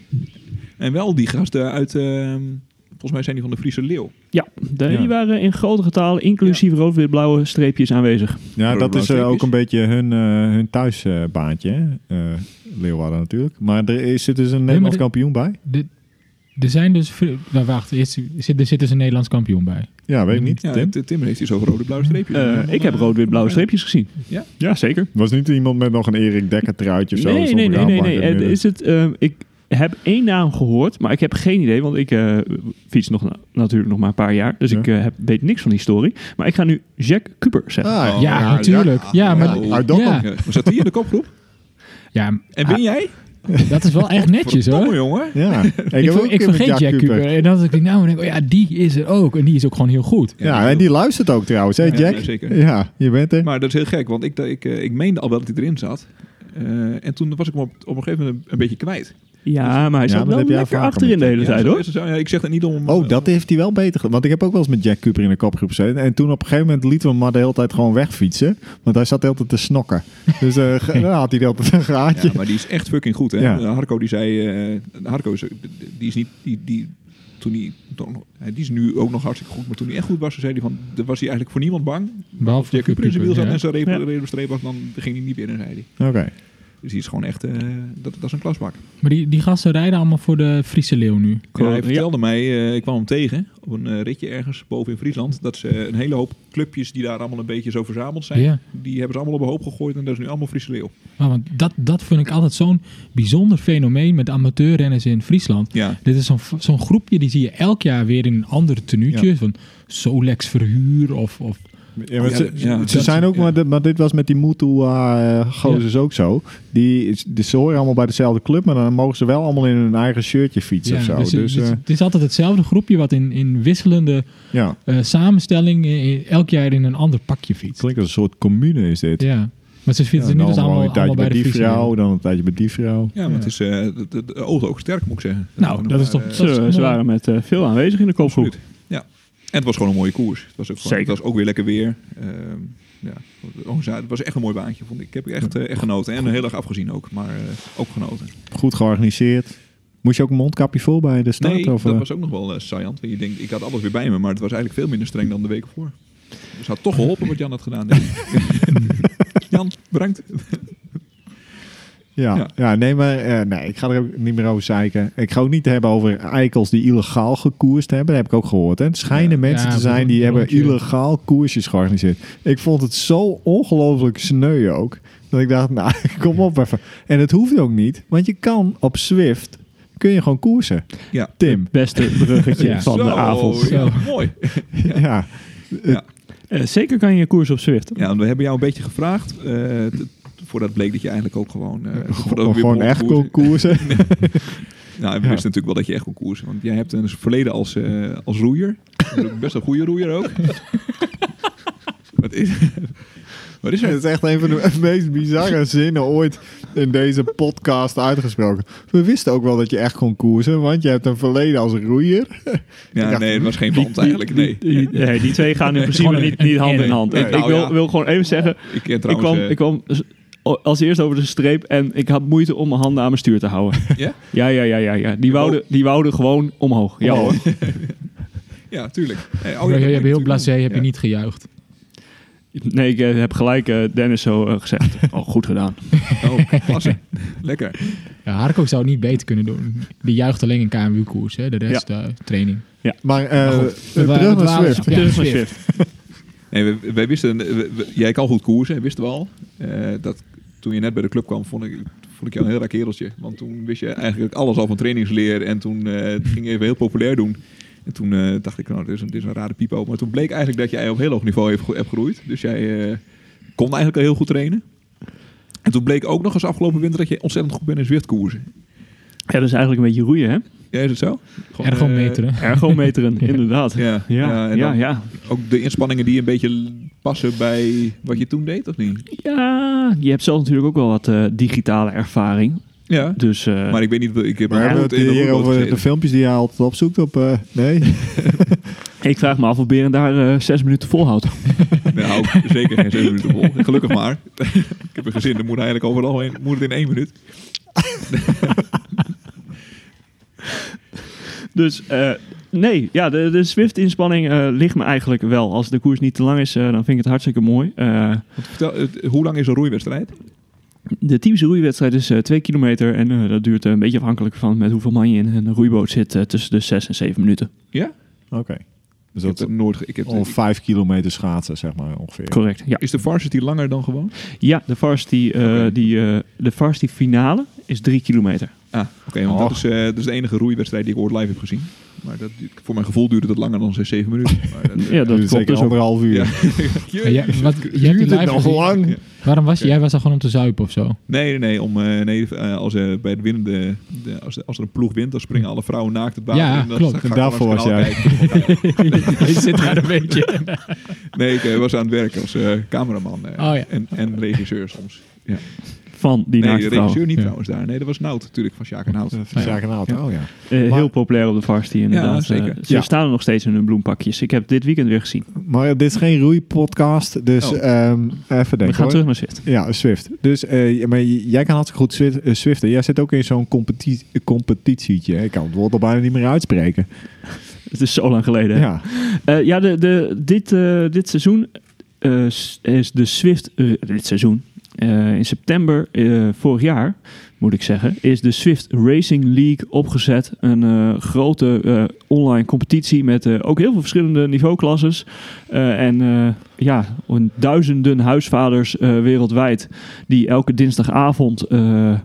C: En wel die gasten uit. ehm, volgens mij zijn die van de Friese Leeuw.
E: Ja, de-
A: Ja.
E: die waren in grote getalen, inclusief rood-wit-blauwe streepjes aanwezig.
A: Ja,
C: Rode
A: dat is eh,
C: blauwe
A: ook een beetje hun, eh, hun thuisbaantje. hè. Eh, Leeuwarden natuurlijk. Maar er is- zit dus een Nederlands
B: dit-
A: kampioen bij.
B: De- Er zijn dus... vri- Nou, wacht. eerst zit- Er zit dus een Nederlands kampioen bij.
A: Ja, weet ik niet.
C: Ja,
A: Tim?
C: Tim, Tim heeft hier zo'n rode-blauwe streepje.
E: Eh, ik heb rood-wit-blauwe streepjes gezien.
C: Ja?
E: Ja, zeker.
A: Was niet iemand met nog een Erik Dekker truitje of zo?
E: Nee,
A: Stond
E: nee,
A: er
E: nee,
A: aan
E: nee,
A: bank
E: nee.
A: in het
E: Eh,
A: midden.
E: Is het, ehm, ik heb één naam gehoord, maar ik heb geen idee, want ik eh, fiets nog na- natuurlijk nog maar een paar jaar. Dus
A: Ja.
E: ik eh, heb, weet niks van historie. Maar ik ga nu Jack Cooper zeggen.
A: Ah,
C: Oh,
B: ja,
C: ja,
B: natuurlijk. Ja,
C: ja.
B: maar...
C: Ja,
A: uit dat
B: ja,
C: Ja. Maar Zat die in de kopgroep?
B: ja,
C: En ben jij?
B: dat is wel echt netjes, hoor.
C: Verdomme, jongen.
A: Ja, ik, heb
B: Ik, ver-
A: ook
B: ik
A: iemand
B: vergeet Jack
A: Cooper.
B: Cooper. En dan dacht ik, nou, dan denk ik, oh ja, die is er ook. En die is ook gewoon heel goed.
A: Ja, en die luistert ook trouwens, hè
C: Ja,
A: Jack?
C: ja, zeker.
A: Ja, je bent er.
C: Maar dat is heel gek, want ik, ik, eh, ik meende al wel dat hij erin zat. Eh, en toen was ik hem op, op een gegeven moment een, een beetje kwijt.
E: Ja, maar hij
A: Ja,
E: zat
A: maar dat
E: wel
A: heb jij
E: lekker
A: vaker
E: achterin de hele
C: Ja,
E: tijd,
C: zo
E: hoor.
C: is het zo. Ja, ik zeg dat niet om... eh,
A: Oh, dat heeft hij wel beter gedaan. Want ik heb ook wel eens met Jack Cooper in de kopgroep gezeten. En toen op een gegeven moment lieten we hem maar de hele tijd gewoon wegfietsen. Want hij zat de hele tijd te snokken. Dus eh, (laughs) ge- dan had hij de hele tijd een gaatje.
C: Ja, maar die is echt fucking goed, hè?
A: Ja.
C: Eh, Harco die zei... eh, Harco is, die is niet... Die, die, toen die, toen- eh, die is nu ook nog hartstikke goed, maar toen hij echt goed was, toen zei hij van, dan was hij eigenlijk voor niemand bang.
B: Behalve
C: Jack Cooper in zijn wiel zat
B: ja.
C: en zijn reep-
E: Ja.
C: rode streep was, dan ging hij niet binnen, zei hij.
A: Oké.
C: Dus die is gewoon echt, eh, dat, dat is een klasbak.
B: Maar die, die gasten rijden allemaal voor de Friese Leeuw nu.
C: En
E: Klopt,
C: hij
E: ja.
C: vertelde mij, eh, ik kwam hem tegen op een eh, ritje ergens boven in Friesland, dat ze eh, een hele hoop clubjes die daar allemaal een beetje zo verzameld zijn,
B: Ja.
C: die hebben ze allemaal op een hoop gegooid en dat is nu allemaal Friese Leeuw.
B: Maar want dat, dat vind ik altijd zo'n bijzonder fenomeen met amateurrenners in Friesland.
C: Ja.
B: Dit is zo'n zo'n groepje, die zie je elk jaar weer in een ander tenuutje. Van Solex Verhuur of... of
A: Ja, maar
C: Ja,
A: ze,
C: ja,
A: ze
C: dat-
A: zijn ook,
C: ja.
A: maar, dit, maar dit was met die Mutua-gozers ook zo. Die, is- die, ze horen allemaal bij dezelfde club, maar dan mogen ze wel allemaal in hun eigen shirtje fietsen
B: ja,
A: of zo.
B: dus
A: Dus,
B: het- het,
A: eh,
B: het is altijd hetzelfde groepje wat in, in wisselende
A: ja,
B: eh, samenstelling eh, elk jaar in een ander pakje
A: het
B: fietst.
A: klinkt als een soort commune is dit.
B: Ja. Maar ze
A: Ja,
B: fietsen
A: dan
B: nu dus allemaal,
A: een tijdje
B: allemaal bij
A: bij
B: de
A: die
B: Friese Leeuw.
A: vrouw, dan een tijdje bij die vrouw.
C: Ja, maar het is eh de, de, de ogen ook sterk, moet ik zeggen. eh,
B: Nou, dat is toch...
E: Ze,
B: dat is
E: ze
B: knal.
E: waren met eh, veel aanwezig in de kopgroep.
C: Absoluut. Ja. En het was gewoon een mooie koers. Het was ook, gewoon-
E: Zeker.
C: Het was ook weer lekker weer. Ehm, ja. de organisatie- Het was echt een mooi baantje, vond ik. Ik heb echt, eh, echt genoten. En heel erg afgezien ook, maar eh, ook genoten.
A: Goed georganiseerd. Moest je ook een mondkapje voor bij de start?
C: Nee,
A: of,
C: dat
A: eh?
C: was ook nog wel eh saaiant. Want je denkt, ik had alles weer bij me, maar het was eigenlijk veel minder streng dan de week ervoor. Dus had toch geholpen wat Jan had gedaan. denk ik. Jan, bedankt.
A: Ja, ja.
C: Ja.
A: nee, maar eh, nee, ik ga er ook niet meer over zeiken. Ik ga ook niet hebben over eikels die illegaal gekoerst hebben. Dat heb ik ook gehoord. Hè. Het schijnen mensen
B: Ja,
A: te zijn die
B: broer-
A: hebben
B: broertje.
A: illegaal koersjes georganiseerd. Ik vond het zo ongelooflijk sneu ook. Dat ik dacht, (laughs) nou, kom op even. En het hoeft ook niet, want je kan op Swift kun je gewoon koersen.
C: Ja.
A: Tim.
E: Beste
A: (laughs)
E: bruggetje
B: Ja.
E: van de
C: Zo,
E: avond.
C: ja, mooi.
A: Ja.
E: Eh, zeker kan je je koers op Zwift.
C: Ja, want we hebben jou een beetje gevraagd. eh, t- t- voordat bleek dat je eigenlijk ook gewoon... eh, voordat we
A: Gewoon,
C: weer
A: gewoon
C: begonnen
A: echt
C: koersen-
A: kon
C: (laughs)
A: koersen.
C: Nou, en we
A: Ja.
C: wisten natuurlijk wel dat je echt kon koersen. Want jij hebt een verleden als, eh, als roeier. Best een goede roeier ook. Wat is, wat
A: (laughs)
C: is
A: Dat
C: er?
A: is echt een van de meest bizarre zinnen ooit in deze podcast uitgesproken. We wisten ook wel dat je echt kon koersen, want je hebt een verleden als roeier.
C: Ja,
A: dacht-
C: nee, het was geen band eigenlijk. Nee.
E: Die, nee, die
C: (laughs)
E: twee gaan in principe
B: Gewoon een-
E: niet, niet hand in hand.
C: Nee,
E: ik
C: nou
E: wil,
C: ja.
E: wil gewoon even zeggen,
C: Ik ken
E: ik
C: trouwens...
E: kwam,
C: eh,
E: ik kwam s- o- als eerst over de streep en ik had moeite om mijn handen aan mijn stuur te
C: (laughs)
E: houden.
C: Ja?
E: Ja, ja, ja, ja. ja. Die,
C: Oh.
E: wouden, die wouden gewoon omhoog. Ja
A: Omhoog.
E: hoor.
C: Ja, tuurlijk. Hey, oh,
B: Oh,
C: ja, dat
B: je hebt
C: denk ik
B: heel
C: natuurlijk
B: blasé,
C: wel.
B: heb je
C: Ja.
B: niet gejuicht.
E: Nee, ik eh, heb gelijk eh, Dennis zo
C: (laughs)
E: eh, gezegd. Oh, goed gedaan.
C: Oh, klasse. Lekker.
B: Ja, Harko zou het niet beter kunnen doen. Die juicht alleen in KMU-koers, hè. de rest eh, training.
A: Maar eh,
B: We
A: terug
B: waren- we
A: naar
B: waren-
A: Swift.
B: ja,
E: Terug naar
B: Zwift.
E: Zwift.
C: Nee, we, wij wisten, we- we- jij kan goed koersen, wisten we al. Eh, dat, toen je net bij de club kwam, vond ik, vond ik jou een heel raar kereltje. Want toen wist je eigenlijk alles al van trainingsleer. En toen eh, het ging je even heel populair doen. En toen eh, dacht ik, nou, dit is, een, dit is een rare pipo. Maar toen bleek eigenlijk dat jij op heel hoog niveau hebt, ge- hebt geroeid. Dus jij eh, kon eigenlijk al heel goed trainen. En toen bleek ook nog eens afgelopen winter dat je ontzettend goed bent in zwiftkoersen.
E: Ja, dat is eigenlijk een beetje roeien,
C: (laughs)
E: hè?
C: Ja, is het zo? Gewoon,
B: Ergo
C: eh,
B: meteren.
E: Ergometeren,
B: Ja.
E: inderdaad. Ja,
C: Ja, ja,
E: ja,
C: en
E: ja.
C: dan
E: ja.
C: ook de inspanningen die een beetje passen bij wat je toen deed, of niet?
E: je hebt zelf natuurlijk ook wel wat eh, digitale ervaring.
C: Ja,
E: Dus eh,
C: maar ik weet niet, ik heb
A: Maar hebben we
C: nooit
A: het
C: in de
A: hier
C: roeiboot
A: over
C: gezeten.
A: de filmpjes die je altijd opzoekt op... eh, (laughs) nee?
E: ik vraag me af of Beren daar eh, zes minuten volhoudt.
C: Nou, hou ik zeker geen zes minuten vol. Gelukkig maar. (laughs) ik heb een gezin, dan moet eigenlijk overal heen, moet het in één minuut.
E: Dus eh, nee, ja, de, de Zwift-inspanning eh, ligt me eigenlijk wel. Als de koers niet te lang is, eh, dan vind ik het hartstikke mooi. Eh,
C: Want vertel, het- hoe lang is een roeiwedstrijd?
E: de typische roeiwedstrijd is eh, twee kilometer. En eh, dat duurt eh, een beetje afhankelijk van met hoeveel man je in een roeiboot zit. eh, tussen de zes en zeven minuten.
A: Oké. Dus
C: ik heb
A: dat
C: het nooit. ge- Ik heb,
A: al vijf kilometer schaatsen, zeg maar, ongeveer.
E: Correct, ja.
C: is de varsity langer dan gewoon?
E: Ja, de varsity, eh,
C: Oké.
E: die, eh, de varsity finale is drie kilometer.
C: Ah, oké, want dat
A: Och.
C: is, eh, dat is de enige roeiwedstrijd die ik ooit live heb gezien. Maar dat, duurt- voor mijn gevoel duurde dat langer dan zes, zeven minuten. Maar
A: (laughs)
C: dat, eh,
E: Ja, dat
A: Dus
E: klopt
A: zeker
E: dus ook.
A: anderhalf uur. (laughs)
C: Ja.
B: Ja, (laughs) jij- wat, je hebt die
A: Duurt het
B: live
A: nog
B: gezien.
A: lang?
B: Waarom was jij was daar gewoon om te zuipen of (laughs) zo?
C: Nee, nee, nee. Om, eh, nee eh, als eh, bij de winnende, de- als, als er een ploeg wint, dan springen alle vrouwen naakt het baan.
B: Ja,
C: in. Dan
B: klopt.
C: ga ik
A: En
C: gewoon
A: daarvoor
C: langs het
A: was
C: kanaal kijken.
B: je zit daar een (laughs) beetje.
C: Nee, ik eh, was aan het werk als eh, cameraman eh,
B: Oh, ja.
C: en, en regisseur soms.
E: Van
C: Nee,
E: die
C: de
E: naakte vrouwen.
C: regisseur niet
B: Ja.
C: trouwens daar. Nee, dat was Nout natuurlijk van Sjaak en Nout.
A: Eh, van Sjaak en Naald.
C: Ja.
A: Oh ja.
E: Eh,
A: Maar-
E: heel populair op de varsity inderdaad.
C: zeker.
E: Eh, ze
A: Ja.
E: staan er nog steeds in hun bloempakjes. Ik heb dit weekend weer gezien.
A: Maar dit is geen roeipodcast, dus
C: Oh.
A: ehm, even denken
E: We gaan
A: hoor.
E: terug naar Zwift.
A: Ja, Swift. Dus eh, maar j- jij kan hartstikke goed Swift, eh, Swiften. Jij zit ook in zo'n competi competitietje. Ik kan het woord al bijna niet meer uitspreken.
E: Het is zo lang geleden.
A: Ja.
E: hè? Eh, ja, de, de, dit, eh, dit seizoen eh, s- is de Swift. eh, dit seizoen. eh, in september eh, vorig jaar, moet ik zeggen, is de Swift Racing League opgezet. Een eh, grote eh, online competitie met eh, ook heel veel verschillende niveauklasses. Eh, en eh, ja, een duizenden huisvaders eh, wereldwijd die elke dinsdagavond eh,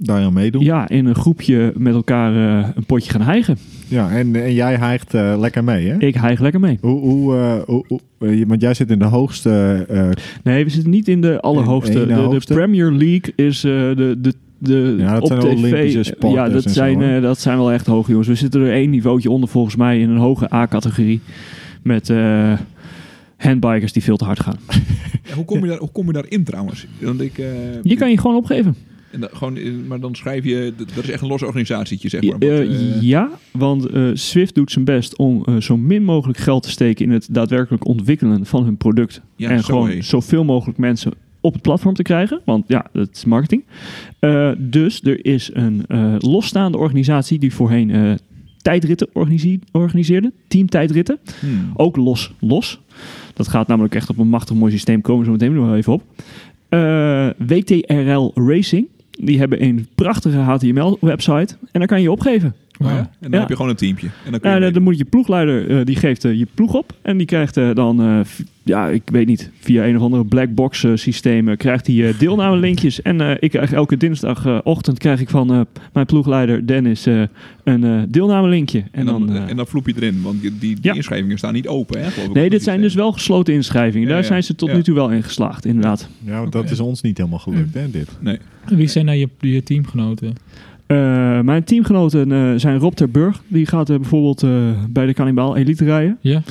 A: Daar aan meedoen. Ja,
E: ja, in een groepje met elkaar eh, een potje gaan hijgen.
A: en, en jij hijgt eh, lekker mee, hè?
E: Ik hijg lekker mee.
A: Hoe, hoe, eh, hoe, hoe- eh, want jij zit in de hoogste... eh,
E: Nee, we zitten niet in de allerhoogste.
A: In- in de
E: de, de
A: hoogste?
E: Premier League is eh, de. de de,
A: Ja, dat
E: op
A: zijn
E: tv.
A: Olympische sporters
E: Ja, dat
A: en zo,
E: zijn,
A: hè?
E: eh, dat zijn wel echt hoge jongens. We zitten er één niveautje onder volgens mij in een hoge A-categorie. Met eh, handbikers die veel te hard gaan.
C: En hoe, kom je daar, hoe kom je daarin trouwens? Want ik, eh,
E: Je kan je gewoon opgeven.
C: en dat- gewoon, in- maar dan schrijf je... Dat dat is echt een los organisatietje, zeg maar.
E: Eh,
C: Want, eh,
E: ja, want eh Swift doet zijn best om eh, zo min mogelijk geld te steken in het daadwerkelijk ontwikkelen van hun product.
C: Ja,
E: en
C: zo
E: gewoon
C: heet.
E: zoveel mogelijk mensen op het platform te krijgen. Want ja, dat is marketing. Eh, dus er is een eh, losstaande organisatie die voorheen eh tijdritten organise- organiseerde. Teamtijdritten.
C: Hmm.
E: Ook los, los. Dat gaat namelijk echt op een machtig mooi systeem. Komen we zo meteen nog wel even op. Eh, WTRL Racing. Die hebben een prachtige HTML-website. En daar kan je je opgeven.
C: Oh ja. En dan
E: Ja.
C: heb je gewoon een teampje. En dan kun je
E: Ja, Eh, dan,
C: meedoen.
E: dan moet je ploegleider, eh, die geeft eh, je ploeg op. En die krijgt eh, dan, eh, v- ja, ik weet niet, via een of andere blackbox eh, systeem, eh, krijgt hij eh, deelnamelinkjes. En eh, ik krijg elke dinsdagochtend krijg ik van eh, mijn ploegleider Dennis eh, een eh, deelnamelinkje. En,
C: en dan,
E: dan, eh,
C: en dan vloep je erin, want die, die, die
E: Ja.
C: inschrijvingen staan niet open. Hè, geloof ik,
E: nee,
C: op
E: dit
C: het
E: zijn dus
C: systeem.
E: wel gesloten inschrijvingen.
C: Ja,
E: Daar
C: ja.
E: zijn ze tot
C: Ja.
E: nu toe wel in geslaagd, inderdaad.
A: Ja, want dat is ons niet helemaal gelukt, hè, dit.
C: Nee.
B: Wie zijn nou je, je teamgenoten?
E: Eh, mijn teamgenoten eh, zijn Rob ter Burg. Die gaat eh, bijvoorbeeld eh, bij de Cannibaal Elite rijden.
B: Ja?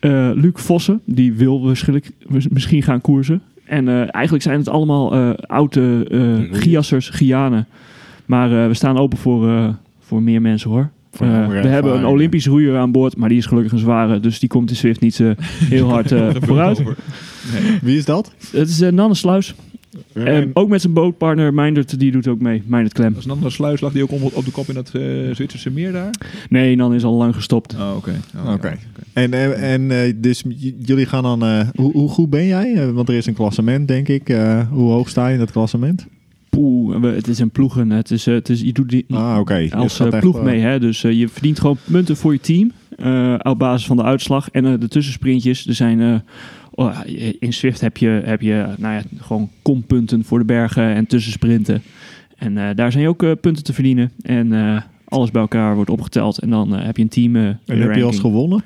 E: Eh, Luc Vossen, die wil waarschijnlijk mis- misschien gaan koersen. En eh, eigenlijk zijn het allemaal eh, oude eh Giassers, Gianen. Maar eh, we staan open voor, eh, voor meer mensen hoor.
A: Voor
E: Eh,
A: jongere
E: we
A: ervaringen.
E: hebben een Olympisch roeier aan boord, maar die is gelukkig een zware. Dus die komt in Swift niet (laughs) eh, heel
C: (laughs)
E: hard eh, vooruit.
C: Over. Nee.
A: Wie is dat?
E: Het is eh, Nanne Sluis. En ook met zijn bootpartner Meindert, die doet ook mee. Meindert Klem.
C: Als een andere sluis lag die ook om- op de kop in dat eh, Zwitserse meer daar.
E: Nee, Nanne is al lang gestopt.
C: Oh, oké. Oh,
A: Oké.
C: ja.
A: En, eh, en eh, dus j- jullie gaan dan... eh, hoe, hoe goed ben jij? Eh, want er is een klassement, denk ik. Eh, hoe hoog sta je in dat klassement?
E: Poeh, we- het is een ploegen. Het is, eh, het is, je doet die,
A: Ah, oké. Dus het
E: als
A: gaat
E: eh,
A: echt,
E: ploeg
A: eh,
E: mee. Hè? Dus eh, je verdient gewoon punten voor je team eh, op basis van de uitslag. En eh, de tussensprintjes, er zijn... eh, oh, in Swift heb je, heb je nou ja, gewoon kompunten voor de bergen en tussensprinten. En eh, daar zijn ook eh, punten te verdienen. En eh, alles bij elkaar wordt opgeteld. En dan eh, heb je een team. eh,
A: En heb je
E: ranking.
A: al eens gewonnen?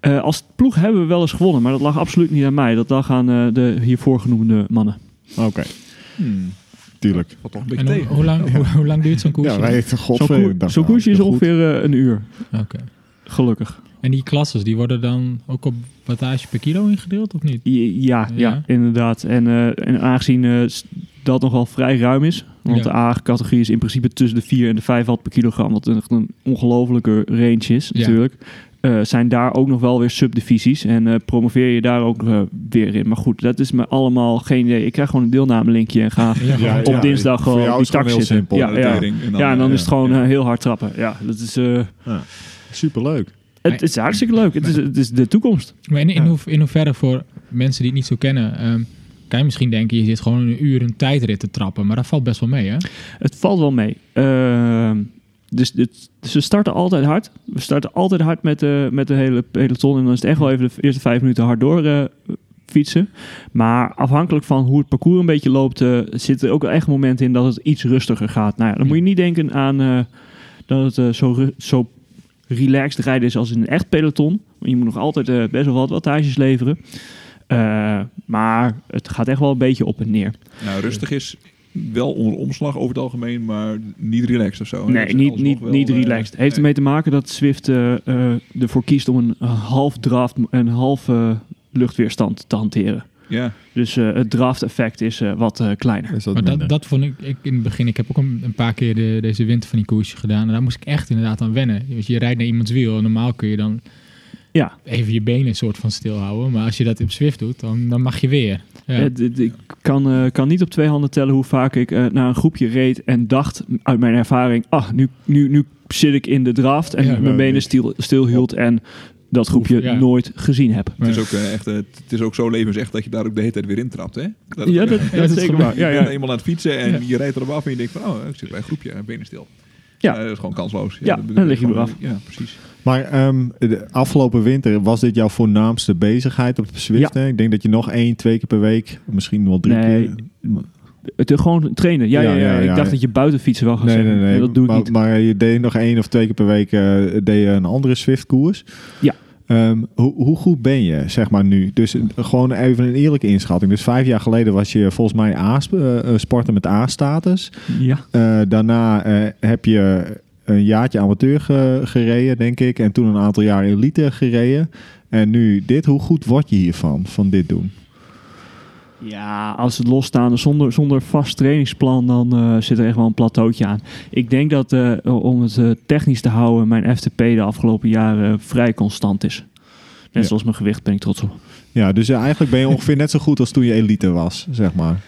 E: Eh, als ploeg hebben we wel eens gewonnen. Maar dat lag absoluut niet aan mij. Dat lag aan eh, de hiervoor genoemde mannen.
A: Oké,
C: Hmm.
A: tuurlijk.
C: Valt toch een beetje
B: En hoe,
C: tegen.
B: hoe lang, hoe, hoe lang duurt zo'n koersje?
A: Ja, wij heeft
E: Zo'n koer-
A: godverdomme.
E: Zo'n koersje is ongeveer eh, een uur.
B: Oké.
E: Gelukkig.
B: En die klasses, die worden dan ook op wattage per kilo ingedeeld, of niet?
E: Ja, ja,
B: Ja.
E: inderdaad. En, eh, en aangezien eh, s- dat nogal vrij ruim is, want
B: Ja.
E: de A-categorie is in principe tussen de 4 en de 5 watt per kilogram, wat echt een ongelofelijke range is
B: Ja.
E: natuurlijk, eh, zijn daar ook nog wel weer subdivisies en eh, promoveer je daar ook eh, weer in. Maar goed, dat is me allemaal geen idee. Ik krijg gewoon een deelnamelinkje
B: (laughs)
E: en ga
B: gewoon-
E: op dinsdag
A: Voor
E: gewoon
A: jou
E: op
A: is
E: die
A: het gewoon
E: tak
A: heel
E: zitten.
A: simpel.
E: Ja, ja.
C: Tering, En dan,
E: ja, en dan
C: eh,
E: is het gewoon
C: ja.
E: eh, heel hard trappen. Ja, dat is, eh,
A: Superleuk.
E: het, is hartstikke leuk. Het is, het is de toekomst.
B: Maar in, in,
A: Ja.
B: hoe- in hoeverre voor mensen die het niet zo kennen, ehm, kan je misschien denken, je zit gewoon een uur een tijdrit te trappen, maar dat valt best wel mee, hè?
E: Het valt wel mee. Ehm, dus dit- ze starten altijd hard. We starten altijd hard met, eh, met de hele peloton. En dan is het echt wel even de eerste vijf minuten hard door eh, fietsen. Maar afhankelijk van hoe het parcours een beetje loopt, eh, zit er ook echt een moment in dat het iets rustiger gaat. Nou ja, dan moet je niet denken aan eh, dat het eh, zo, ru- zo relaxed rijden is als in een echt peloton. Want je moet nog altijd eh, best wel wat wattages leveren. Eh, maar het gaat echt wel een beetje op en neer.
C: Nou, rustig is wel onder omslag over het algemeen, maar niet relaxed of zo.
E: Nee,
C: Dus
E: niet,
C: alsnog
E: niet,
C: wel,
E: niet
C: eh,
E: relaxed. Heeft
C: nee.
E: ermee te maken dat Swift eh, eh, ervoor kiest om een half draft, een half eh, luchtweerstand te hanteren.
C: Ja,
E: Dus eh, het draft effect is eh, wat eh, kleiner.
A: Is dat
B: Maar
A: minder?
B: dat, dat vond ik, ik in het begin. Ik heb ook een, een paar keer de- deze winter van die koersje gedaan. En daar moest ik echt inderdaad aan wennen. Want je rijdt naar iemands wiel. En normaal kun je dan
E: Ja.
B: even je benen een soort van stilhouden. Maar als je dat op Zwift doet, dan, dan mag je weer. Ja.
E: Eh, d- d- ik kan, eh, kan niet op twee handen tellen hoe vaak ik eh, naar een groepje reed en dacht uit mijn ervaring, ah, nu, nu, nu zit ik in de draft en
B: Ja, nou,
E: mijn
A: wel,
E: benen
A: dit-
E: stil, stilhield en dat groepje
B: ja.
E: nooit gezien heb.
C: het is, ook, eh, echt, eh, het is ook zo levensecht dat je daar ook de hele tijd weer intrapt, hè? Dat,
E: Ja, dat,
B: dat
E: dat
B: is
E: is zeker
B: goed.
E: waar. Ja,
C: Je
E: ja.
C: bent eenmaal aan het fietsen en je rijdt erop af en je denkt van, oh, ik zit bij een groepje en benen stil. Eh,
E: Ja.
C: dat is gewoon kansloos.
E: Ja,
C: dat-
E: dan
C: dat-
E: lig je
C: gewoon-
E: eraf.
C: Ja, precies. (laughs)
A: Maar ehm, de afgelopen winter was dit jouw voornaamste bezigheid op Zwift? hè? Ik denk dat je nog één, twee keer per week, misschien wel drie
E: Nee,
A: keer.
E: Het, eh, gewoon trainen. Ja, ja, ja,
A: ja, ja.
E: Ik dacht dat je buiten fietsen wel gaat zeggen. Dat doe ik
A: maar,
E: niet.
A: Maar je deed nog één of twee keer per week eh, deed je een andere Zwift-koers.
E: Ja.
A: Ehm, hoe, hoe goed ben je, zeg maar, nu? Dus eh, gewoon even een eerlijke inschatting. Dus vijf jaar geleden was je volgens mij A, eh, eh, sporter met A-status.
E: Ja.
A: Eh, daarna eh, heb je een jaartje amateur ge- gereden, denk ik. En toen een aantal jaar elite gereden. En nu dit. Hoe goed word je hiervan, van dit doen?
E: Ja, als het losstaande zonder, zonder vast trainingsplan, dan eh, zit er echt wel een plateautje aan. Ik denk dat, eh, om het eh, technisch te houden, mijn FTP de afgelopen jaren eh, vrij constant is.
A: Ja.
E: Net zoals mijn gewicht ben ik trots op.
A: Ja, dus eh, eigenlijk ben je ongeveer net zo goed als toen je elite was, zeg maar.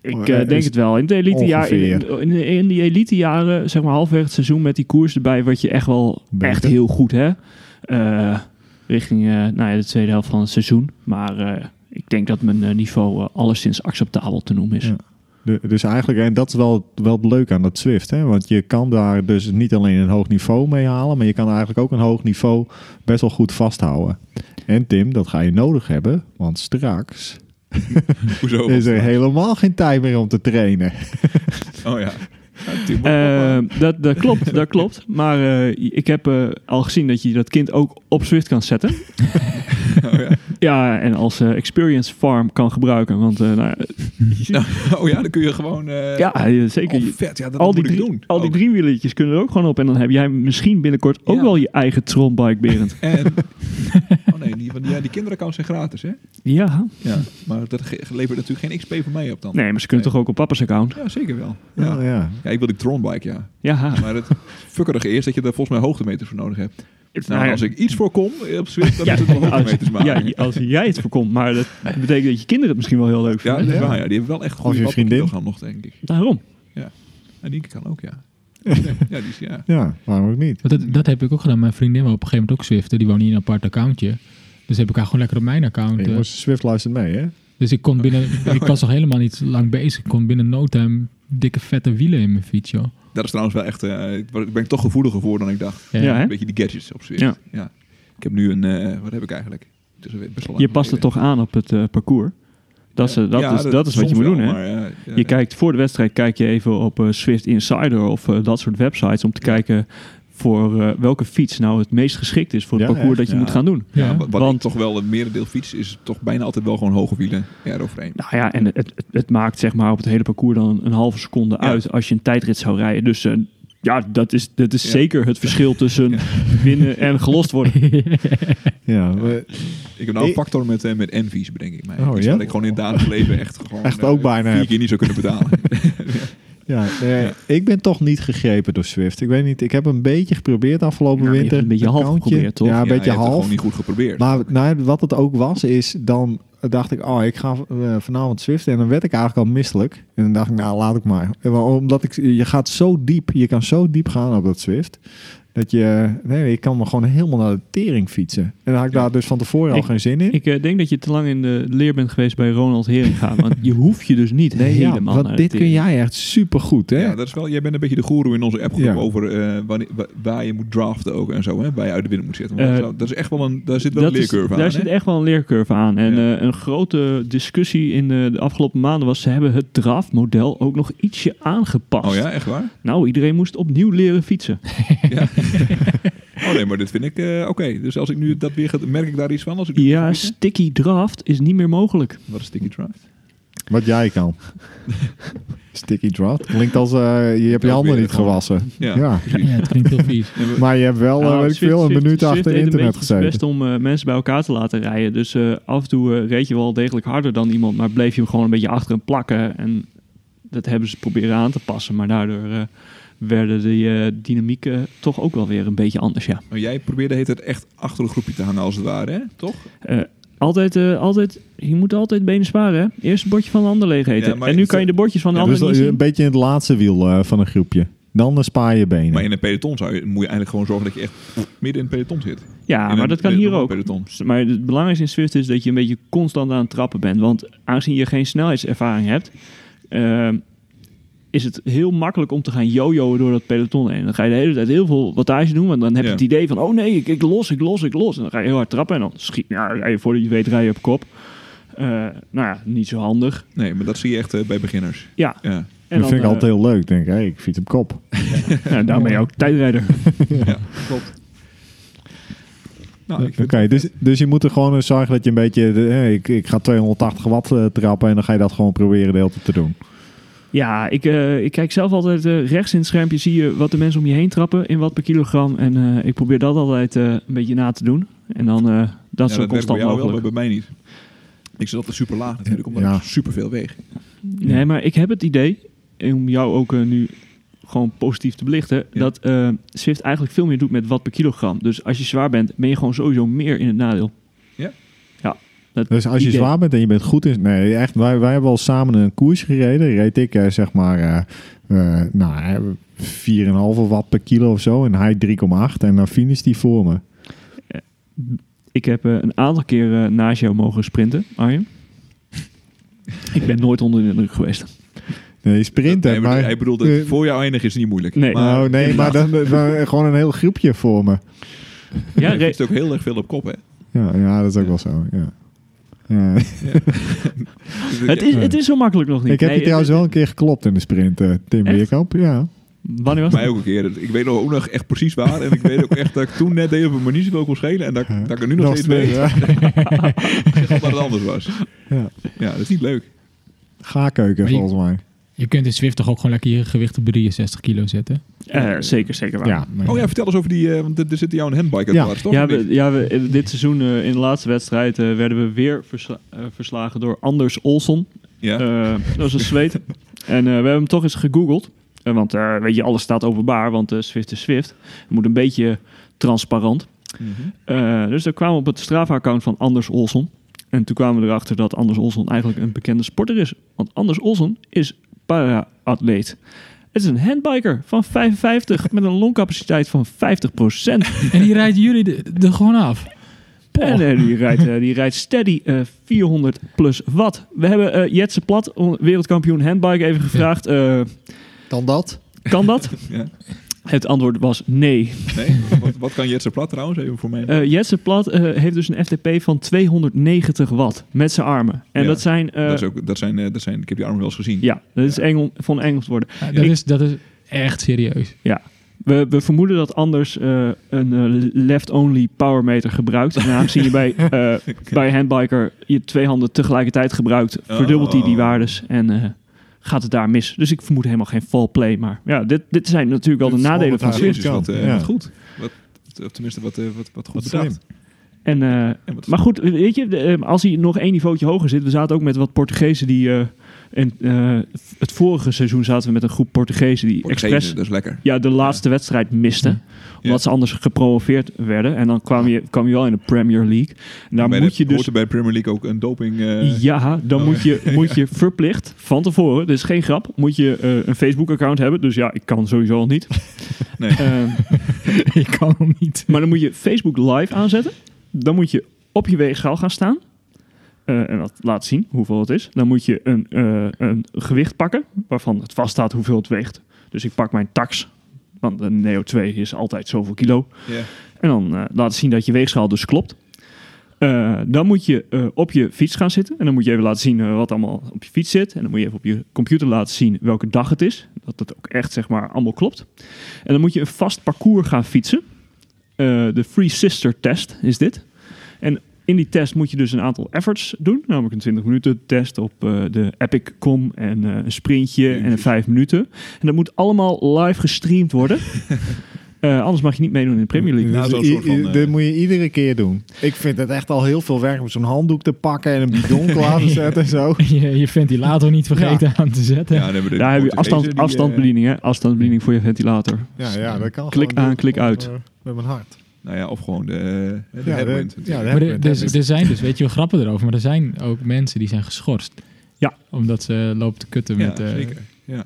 E: Ik
A: Maar,
E: eh,
A: eh,
E: denk
A: is
E: het wel. In de elite jaar, in,
A: ongeveer.
E: in, in die elite jaren, zeg maar halverwege het seizoen met die koers erbij, word je echt wel
A: Beter.
E: echt heel goed, hè? Eh, richting eh, nou ja, de tweede helft van het seizoen. Maar eh, ik denk dat mijn eh, niveau eh, alleszins acceptabel te noemen is.
A: Ja. De- dus eigenlijk, en dat is wel, wel leuk aan dat Zwift. Hè? Want je kan daar dus niet alleen een hoog niveau mee halen, maar je kan eigenlijk ook een hoog niveau best wel goed vasthouden. En Tim, dat ga je nodig hebben, want straks
C: Hoezo?
A: is er helemaal geen tijd meer om te trainen.
C: Oh ja. Ja, Tim,
E: Eh, dat, dat klopt, dat klopt. Maar eh, ik heb eh, al gezien dat je dat kind ook op Zwift kan zetten.
C: (laughs) oh, ja.
E: Ja, en als eh, experience farm kan gebruiken. Want eh, nou,
C: (laughs) oh ja, dan kun je gewoon... eh,
E: ja, eh, zeker.
C: oh,
E: je-
C: vet, ja, dat
E: al
C: moet
E: die,
C: ik
E: drie,
C: doen. Oh,
E: al die
C: Ook.
E: driewielertjes kunnen er ook gewoon op. En dan heb jij misschien binnenkort ook
C: Ja.
E: wel je eigen tronbike, Berend.
C: En, oh nee, die, want die, ja, die kinderaccounts zijn gratis, hè?
E: ja.
C: (laughs) Ja, maar dat ge- levert natuurlijk geen XP voor mij op dan.
E: Nee, maar ze kunnen
C: Nee.
E: toch ook op papa's account?
C: Ja, zeker wel. Ja.
A: Ja, ja.
C: Ja, ik wil die Tronbike, ja.
E: Ja.
C: Maar
E: (laughs)
C: het fuckerige is dat je daar volgens mij hoogtemeters voor nodig hebt. Nou,
E: Nou ja,
C: als ik iets voor kom eh, op Swift, dan
E: Ja,
C: is het wel hoogtemeters
E: als,
C: maken.
E: ja, als jij het voorkomt. Maar dat betekent dat je kinderen het misschien wel heel leuk
C: Ja,
E: vinden.
C: dat is waar, ja. Die hebben wel echt goede
A: je
C: wappen
A: vriendin.
C: die gaan nog, denk ik.
E: Daarom.
C: En die kan ook,
E: (laughs)
C: ja. Ja, die is, ja.
A: waarom ook niet?
B: Want dat, dat heb ik ook gedaan. Mijn vriendin wil op een gegeven moment ook Zwiften. Die woont niet in een apart accountje. Dus heb ik haar gewoon lekker op mijn account.
A: Hey,
B: eh,
A: jongens, Zwift luistert mee, hè?
B: Dus ik kon binnen... ik was nog helemaal niet lang bezig. Ik kon binnen no time dikke vette wielen in mijn fiets, joh.
C: Dat is trouwens wel echt... eh, ik ben ik toch gevoeliger voor dan ik dacht.
E: Ja, hè?
C: Een beetje die gadgets op Swift.
E: Ja.
C: Ja. Ik heb nu een... eh, wat heb ik eigenlijk? Het is alweer best wel lang
E: Je past het
C: geleden.
E: toch aan op het eh, parcours. Dat is, eh, dat
C: Ja,
E: is, dat is wat je
C: soms
E: moet
C: wel,
E: doen, hè?
C: maar, ja, ja,
E: Je kijkt voor de wedstrijd kijk je even op eh, Swift Insider of eh, dat soort websites om te kijken voor eh, welke fiets nou het meest geschikt is voor het
A: Ja,
E: parcours
A: echt?
E: dat
C: Ja.
E: je moet gaan doen.
C: Ja,
B: Ja.
C: wa- wat
E: Want-
C: ik toch wel een merendeel fiets is toch bijna altijd wel gewoon hoge wielen eroverheen.
E: Nou ja, en het, het, het maakt zeg maar op het hele parcours dan een halve seconde
C: Ja.
E: uit als je een tijdrit zou rijden. Dus eh, ja, dat is, dat is
C: Ja.
E: zeker het verschil (laughs) tussen winnen en gelost worden.
A: Ja, we-
C: Ik heb nou een
A: Ik-
C: factor met, eh, met envies, bedenk ik mij.
A: Oh,
C: Iets
A: ja?
C: wat ik gewoon in het dagelijks leven echt gewoon
A: Echt
C: eh,
A: ook bijna
C: vier
A: heb.
C: keer niet zou kunnen
A: (laughs)
C: betalen.
A: ja, eh, ik ben toch niet gegrepen door Zwift. Ik weet niet, ik heb een beetje geprobeerd afgelopen
E: Ja, Nou, je hebt
A: winter.
E: een beetje half
A: accountje.
E: geprobeerd, toch?
A: Ja, een
C: Ja, je hebt
A: beetje
C: het
A: half.
C: gewoon niet goed geprobeerd.
A: Maar nou, wat het ook was, is dan dacht ik, oh, ik ga eh, vanavond Zwift. En dan werd ik eigenlijk al misselijk. En dan dacht ik, nou, laat ik maar. En wel, Omdat ik, je gaat zo diep, je kan zo diep gaan op dat Zwift. Dat je, nee, ik kan me gewoon helemaal naar de tering fietsen. En dan had ik daar dus van tevoren al
E: Ik-
A: geen zin in.
E: (laughs) Ik eh, denk dat je te lang in de leer bent geweest bij Ronald Heringa. Want je hoeft je dus niet
A: ja,
E: helemaal naar
A: want
E: de
A: dit kun
E: tering.
A: jij echt supergoed, hè?
C: ja, dat is wel, jij bent een beetje de goeroe in onze appgroep
A: Ja.
C: over eh, wanneer, wa- waar je moet draften ook en zo. Hè? Waar je uit de wind moet zitten. Want
E: Eh,
C: dat, is wel- dat is echt wel een, daar zit wel een
E: Dat is-
C: leercurve aan.
E: Daar
C: hè?
E: zit echt wel een leercurve aan. En
C: Ja.
E: eh, een grote discussie in eh, de afgelopen maanden was... ze hebben het draftmodel ook nog ietsje aangepast.
C: Oh ja, echt waar?
E: Nou, iedereen moest opnieuw leren fietsen.
C: ja. oh nee, maar dit vind ik eh, oké. Dus als ik nu dat weer ga, merk ik daar iets van? Als ik nu ga
E: Ja,
C: fietsen?
E: sticky draft is niet meer mogelijk.
C: Wat is sticky draft?
A: Wat jij kan. Sticky draft. Klinkt als eh, je hebt je
C: Ook
A: handen
C: weer
A: niet
C: gewoon.
A: gewassen.
C: Ja.
A: Ja.
B: Ja, het klinkt heel vies.
A: Maar je hebt wel, eh,
E: Nou,
A: weet ik
E: Zwift-
A: veel, een
E: Zwift-
A: minuut
E: Zwift
A: achter
E: deed een
A: internet
E: beetje zijn
A: gezeten.
E: best om eh, mensen bij elkaar te laten rijden. Dus eh, af en toe eh, reed je wel degelijk harder dan iemand... maar bleef je hem gewoon een beetje achter hem plakken. En dat hebben ze proberen aan te passen. Maar daardoor eh, werden de eh, dynamieken toch ook wel weer een beetje anders, ja.
C: Maar Nou, jij probeerde heet het echt achter een groepje te hangen als het ware, hè? toch?
E: Eh, altijd, eh, altijd, je moet altijd benen sparen, hè? Eerst het bordje van de ander leeg
C: Ja,
E: eten.
C: maar
E: en nu
C: het-
E: kan je de bordjes van de
A: Ja,
E: ander
A: dus
E: niet
A: dat je een
E: zien.
A: beetje in het laatste wiel eh, van een groepje. Dan eh, spaar je benen.
C: Maar in een peloton zou je, moet je eigenlijk gewoon zorgen dat je echt midden in het peloton zit.
E: Ja,
C: In
E: maar
C: een
E: dat kan
C: peloton-
E: hier ook. Dus,
C: Peloton.
E: Maar het belangrijkste in Swift is dat je een beetje constant aan het trappen bent. Want aangezien je geen snelheidservaring hebt, ehm, is het heel makkelijk om te gaan jojoen door dat peloton heen. Dan ga je de hele tijd heel veel wattage doen, want dan heb je
C: Ja.
E: het idee van, oh nee, ik, ik los, ik los, ik los. En dan ga je heel hard trappen en dan schiet, ja, rij je voordat je het weet, rij je op kop. Eh, nou ja, niet zo handig.
C: Nee, maar dat zie je echt eh, bij beginners.
E: Ja, en
C: Ja.
A: dat
E: dan,
A: vind ik
E: eh,
A: altijd heel leuk. Ik Denk, hé, ik fiets op kop.
E: (laughs) nou, daarom ben je ook tijdrijder.
C: Ja, klopt. Nou, ik
A: Oké,
C: vind
A: dus, dus je moet er gewoon eens zorgen dat je een beetje... de- hé, ik, ik ga 280 watt eh, trappen en dan ga je dat gewoon proberen de hele tijd te doen.
E: Ja, ik, eh, ik kijk zelf altijd eh, rechts in het schermpje. Zie je wat de mensen om je heen trappen in wat per kilogram. En eh, ik probeer dat altijd eh, een beetje na te doen. En dan eh, dat
C: ja, dat werkt
E: zo
C: bij
E: constant
C: jou wel, maar
E: mogelijk.
C: bij mij niet. Ik zit altijd super laag natuurlijk, omdat
A: Ja.
C: ik super veel weeg.
E: Nee, maar ik heb het idee, en om jou ook eh, nu gewoon positief te belichten,
C: Ja.
E: dat eh Swift eigenlijk veel meer doet met wat per kilogram. Dus als je zwaar bent, ben je gewoon sowieso meer in het nadeel.
C: Ja?
E: Ja, Dat
A: Dus als je
E: idee.
A: zwaar bent en je bent goed in... Nee, echt, wij, wij hebben al samen een koers gereden. Reed ik eh, zeg maar eh, eh, nou, eh, 4,5 watt per kilo of zo. En hij 3,8. En dan finish die voor me.
E: Ik heb eh, een aantal keer eh, naast jou mogen sprinten,
A: (laughs)
E: Arjen. ik ben nooit onder de indruk geweest.
A: Nee, sprinten.
C: Nee, maar
A: maar,
C: hij bedoelde,
A: eh,
C: voor jou eindigen is niet moeilijk.
E: Nee.
C: maar
A: nou, nee, maar dan, dan gewoon een heel groepje voor me.
E: Ja,
C: hij (laughs)
E: Re-
C: geeft ook heel erg veel op kop, hè?
A: Ja, ja dat is ook wel zo. Ja.
C: (laughs)
A: Ja.
C: Dus
E: het, is, het is zo makkelijk nog niet.
A: ik heb
E: Nee, eh,
A: je
C: eh,
A: trouwens wel een keer geklopt in de sprint, eh, Tim
E: Echt?
A: Weerkamp. Ja.
E: Wanneer was
C: Mij
E: het?
C: ook een keer. Ik weet nog ook nog echt precies waar. En ik weet ook echt dat ik toen net deed op een manier zoveel kon schelen. En dat, ik- dat ik er nu nog, steeds weet
A: ja.
C: dat het anders was.
A: Ja.
C: Ja, dat is niet leuk.
A: (laughs) Gaarkeuken,
B: Maar je-
A: volgens mij.
B: Je kunt in Zwift toch ook gewoon lekker je gewicht op 63 kilo zetten?
E: Eh, zeker, zeker waar.
A: Ja,
C: Oh ja, vertel eens over die... eh, want er er zit jou een handbike
A: Ja.
C: aan toch?
E: Ja,
C: Of niet?
E: we, ja we, eh, dit seizoen eh, in de laatste wedstrijd eh, werden we weer versla- eh, verslagen door Anders Olsson.
C: ja.
E: Eh, dat was een zweet.
C: (laughs)
E: en eh, we hebben hem toch eens gegoogeld. Eh, want eh, weet je, alles staat openbaar, want eh Swift is Swift. Het moet een beetje transparant.
C: Mhm.
E: Eh, dus we kwamen op het Strava-account van Anders Olsson. En toen kwamen we erachter dat Anders Olsson eigenlijk een bekende sporter is. Want Anders Olsson is para-atleet. Het is een handbiker van 55 met een longcapaciteit van 50%.
B: En die rijden jullie er- er gewoon af.
E: En eh, die, rijdt, eh, die rijdt steady eh, 400 plus watt. We hebben eh, Jetse Plat, on- wereldkampioen handbike, even gevraagd. eh,
F: Dan dat.
E: kan dat? (laughs)
C: Ja.
E: Het antwoord was nee.
C: Nee? Wat, wat kan Jetse Plat trouwens even voor mij?
E: Eh Jetse Plat eh, heeft dus een FTP van 290 watt met zijn armen. En
C: Ja,
E: dat zijn... eh,
C: dat, is ook, dat, zijn, eh, dat zijn... Ik heb die armen wel eens gezien.
E: Ja, dat is Engel, van Engels worden.
B: Ja, dat, is, dat is echt serieus.
E: We, we vermoeden dat anders eh, een eh, left-only powermeter gebruikt. En aangezien je
A: (laughs)
E: bij, eh, bij handbiker je twee handen tegelijkertijd gebruikt, verdubbelt hij die
C: Oh.
E: waardes en eh, gaat het daar mis. Dus ik vermoed helemaal geen fall play. Maar ja, dit, dit zijn natuurlijk wel
A: Dit
E: de
A: is
E: nadelen van
A: allemaal
E: Swift.
C: Jezus, wat, eh,
A: Ja.
C: wat goed. Wat, of tenminste, wat, eh, wat, wat goed
A: Wat
C: bedacht.
E: En, eh,
C: En wat-
E: maar goed, weet je, de, eh, als hij nog één niveautje hoger zit. We zaten ook met wat Portugezen die... eh, in, eh, het vorige seizoen zaten we met een groep Portugezen die
C: Portugezen,
E: expres
C: Dat is lekker.
E: ja, de laatste wedstrijd misten. Omdat ze anders gepromoveerd werden. En dan kwam je, kwam je wel in de Premier League. En daar
C: Bij
E: moet
C: de,
E: je dus...
C: hoort er bij Premier League ook een doping... eh,
E: Ja, dan moet je,
C: (laughs)
E: moet je (laughs) verplicht van tevoren, dus geen grap, moet je eh, een Facebook-account hebben. Dus ja, ik kan sowieso al niet.
C: (laughs) Nee.
E: Ehm,
B: Ik kan hem niet.
E: maar dan moet je Facebook Live aanzetten. Dan moet je op je weegschaal gaan staan. Eh, en dat laat zien hoeveel het is. Dan moet je een, eh, een gewicht pakken waarvan het vaststaat hoeveel het weegt. Dus ik pak mijn tax. Want een Neo 2 is altijd zoveel kilo.
C: ja.
E: En dan eh, laten zien dat je weegschaal dus klopt. Eh, dan moet je eh, op je fiets gaan zitten. En dan moet je even laten zien eh, wat allemaal op je fiets zit. En dan moet je even op je computer laten zien welke dag het is. Dat dat ook echt zeg maar allemaal klopt. En dan moet je een vast parcours gaan fietsen. Eh, de Free Sister test is dit. En in die test moet je dus een aantal efforts doen. Namelijk een 20 minuten test op eh, de Epic Com. En eh, een sprintje en een 5 minuten. En dat moet allemaal live gestreamd worden. Eh, anders mag je niet meedoen in de Premier League. Dus
A: Dit
C: Nou,
A: is
C: zo'n
A: i-
C: soort van,
A: i-
C: eh,
A: dit moet je iedere keer doen. Ik vind het echt al heel veel werk om zo'n handdoek te pakken en een
E: (laughs)
A: bidon klaar te zetten en zo.
B: Je, je ventilator niet vergeten aan te zetten.
C: Ja, dan hebben we de
E: Daar heb je
C: Portugezen
E: afstand,
C: die, eh,
E: afstandsbediening, hè? Afstandsbediening voor je ventilator.
A: Ja, ja, dat kan
E: Klik
A: gewoon
E: aan,
A: doen.
E: klik
A: Gewoon,
E: uit.
A: eh, Met mijn hart.
C: Nou ja, of gewoon de, eh, de
A: Ja, de-
C: headwind.
A: ja,
C: natuurlijk.
A: de
B: maar
A: heb
B: er,
A: ik, heb
B: er-
A: ik.
B: er zijn dus, weet je, we grappen erover, maar er zijn ook mensen die zijn geschorst.
E: Ja.
B: Omdat ze lopen te kutten
C: Ja,
B: met... eh,
C: zeker. Ja.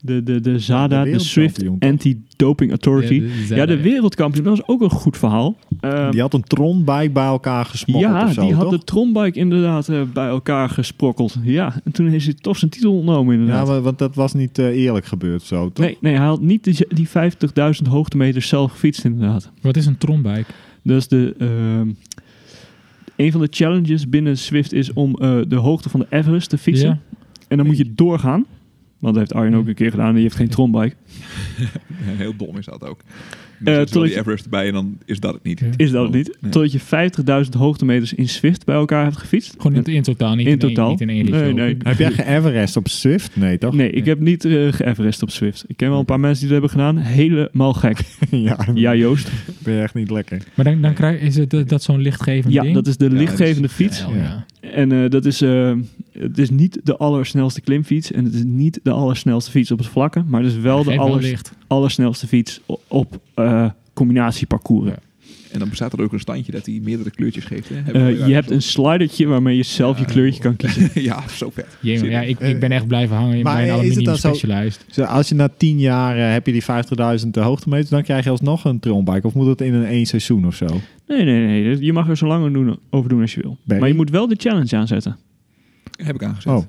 E: De, de, de ZADA, de,
A: wereldkampioen
E: Swift
A: toch?
E: Anti-Doping Authority. Ja,
B: de,
E: de, wereldkampioen, dat is ook een goed verhaal. Ehm,
A: Die had een tronbike bij elkaar gesmokkeld
E: ja,
A: of zo,
E: die had
A: toch?
E: de tronbike inderdaad eh, bij elkaar gesprokkeld. Ja, en toen is hij toch zijn titel ontnomen
A: Ja,
E: inderdaad.
A: maar, want dat was niet eh, eerlijk gebeurd zo, toch?
E: nee, nee, hij had niet die, die 50.000 hoogtemeters zelf gefietst inderdaad.
B: Wat is een tronbike?
E: Dat is de... ehm, een van de challenges binnen Swift is om eh, de hoogte van de Everest te fietsen.
B: Ja.
E: En dan moet je doorgaan. Want dat heeft Arjen ook een keer gedaan. en Die heeft geen tronbike.
C: Heel dom is dat ook.
E: Eh,
C: Dan zet je wel
E: totdat
C: die
E: je-
C: Everest erbij en dan is dat het niet.
B: Ja.
E: Is dat het niet?
C: Oh. Nee.
E: Totdat je 50.000 hoogtemeters in Swift bij elkaar hebt gefietst.
B: Gewoon in, in totaal, niet
E: In
B: in, één-
E: totaal?
B: niet in één
E: Nee,
B: ritje.
E: nee.
A: Heb jij ge-Everest op Swift? Nee, toch?
E: Nee, ik heb niet eh ge-Everest op Swift. Ik
C: Hm.
E: ken wel een paar mensen die dat hebben gedaan. Helemaal gek.
A: (laughs)
B: (laughs)
A: ja,
E: Ja, Joost.
A: ben je echt niet lekker.
B: Maar dan, dan krijg, is het eh, dat zo'n lichtgevend
E: Ja,
B: ding?
E: dat is de
C: dat is-
E: lichtgevende fiets.
B: Wel, ja.
E: En eh, dat is, eh, het is niet de allersnelste klimfiets. En het is niet de allersnelste fiets op het vlakke. Maar het is wel
B: Geeft
E: de
B: wel
E: allers,
B: licht.
E: allersnelste fiets o- op eh combinatieparcours.
C: En dan bestaat er ook een standje dat hij meerdere kleurtjes geeft. Hè? Hebben
E: Eh,
C: jullie daar
E: je hebt een slidertje waarmee je zelf je kleurtje kan kiezen.
C: zo'n- (laughs) ja, zo vet.
B: Jee, maar ja, ik, ik ben echt blijven hangen in
A: Maar is
B: mijn
A: het
B: aluminium
A: dan zo-
B: specialized.
A: Dus als je na 10 jaar eh, heb je die 50.000 hoogtemeters, dan krijg je alsnog een tronbike. Of moet dat in een één seizoen of zo?
E: Nee, nee, nee. Je mag er zo lang doen, over doen als je wil.
A: Barry?
E: Maar je moet wel de challenge aanzetten.
C: Heb ik aangezet.
A: Oh,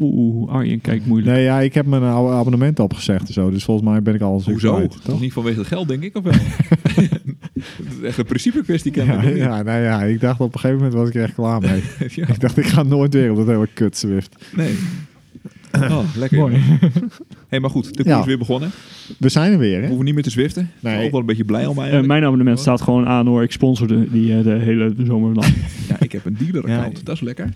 E: Oeh, Arjen kijkt moeilijk.
A: nee, ja, ik heb mijn oude abonnement opgezegd en zo. Dus volgens mij ben ik al een stuk
C: Hoezo?
A: kwijt,
C: Toch
A: toch?
C: niet vanwege het geld, denk ik, of
A: (laughs)
C: wel? (laughs) dat is echt een principe kwestie,
A: Ja,
C: kennelijk. of niet?
A: ja, nou ja, ik dacht op een gegeven moment was ik er echt klaar mee. (laughs)
C: (laughs) Ja,
A: ik dacht, ik ga nooit weer op dat hele kut Zwift.
C: nee. Oh, lekker.
B: Mooi.
C: hey, maar goed, de koers
A: Ja.
C: is weer begonnen.
A: We zijn er weer,
C: We
A: hè?
C: hoeven niet meer te zwiften. Ik ben
A: Nee.
C: ook wel een beetje blij om
E: Eh,
C: eigenlijk.
E: mijn abonnement staat gewoon aan hoor. Ik sponsor de, die, eh, de hele zomer lang.
C: Ja, ik heb een dealer-account.
A: Ja.
C: Dat is lekker.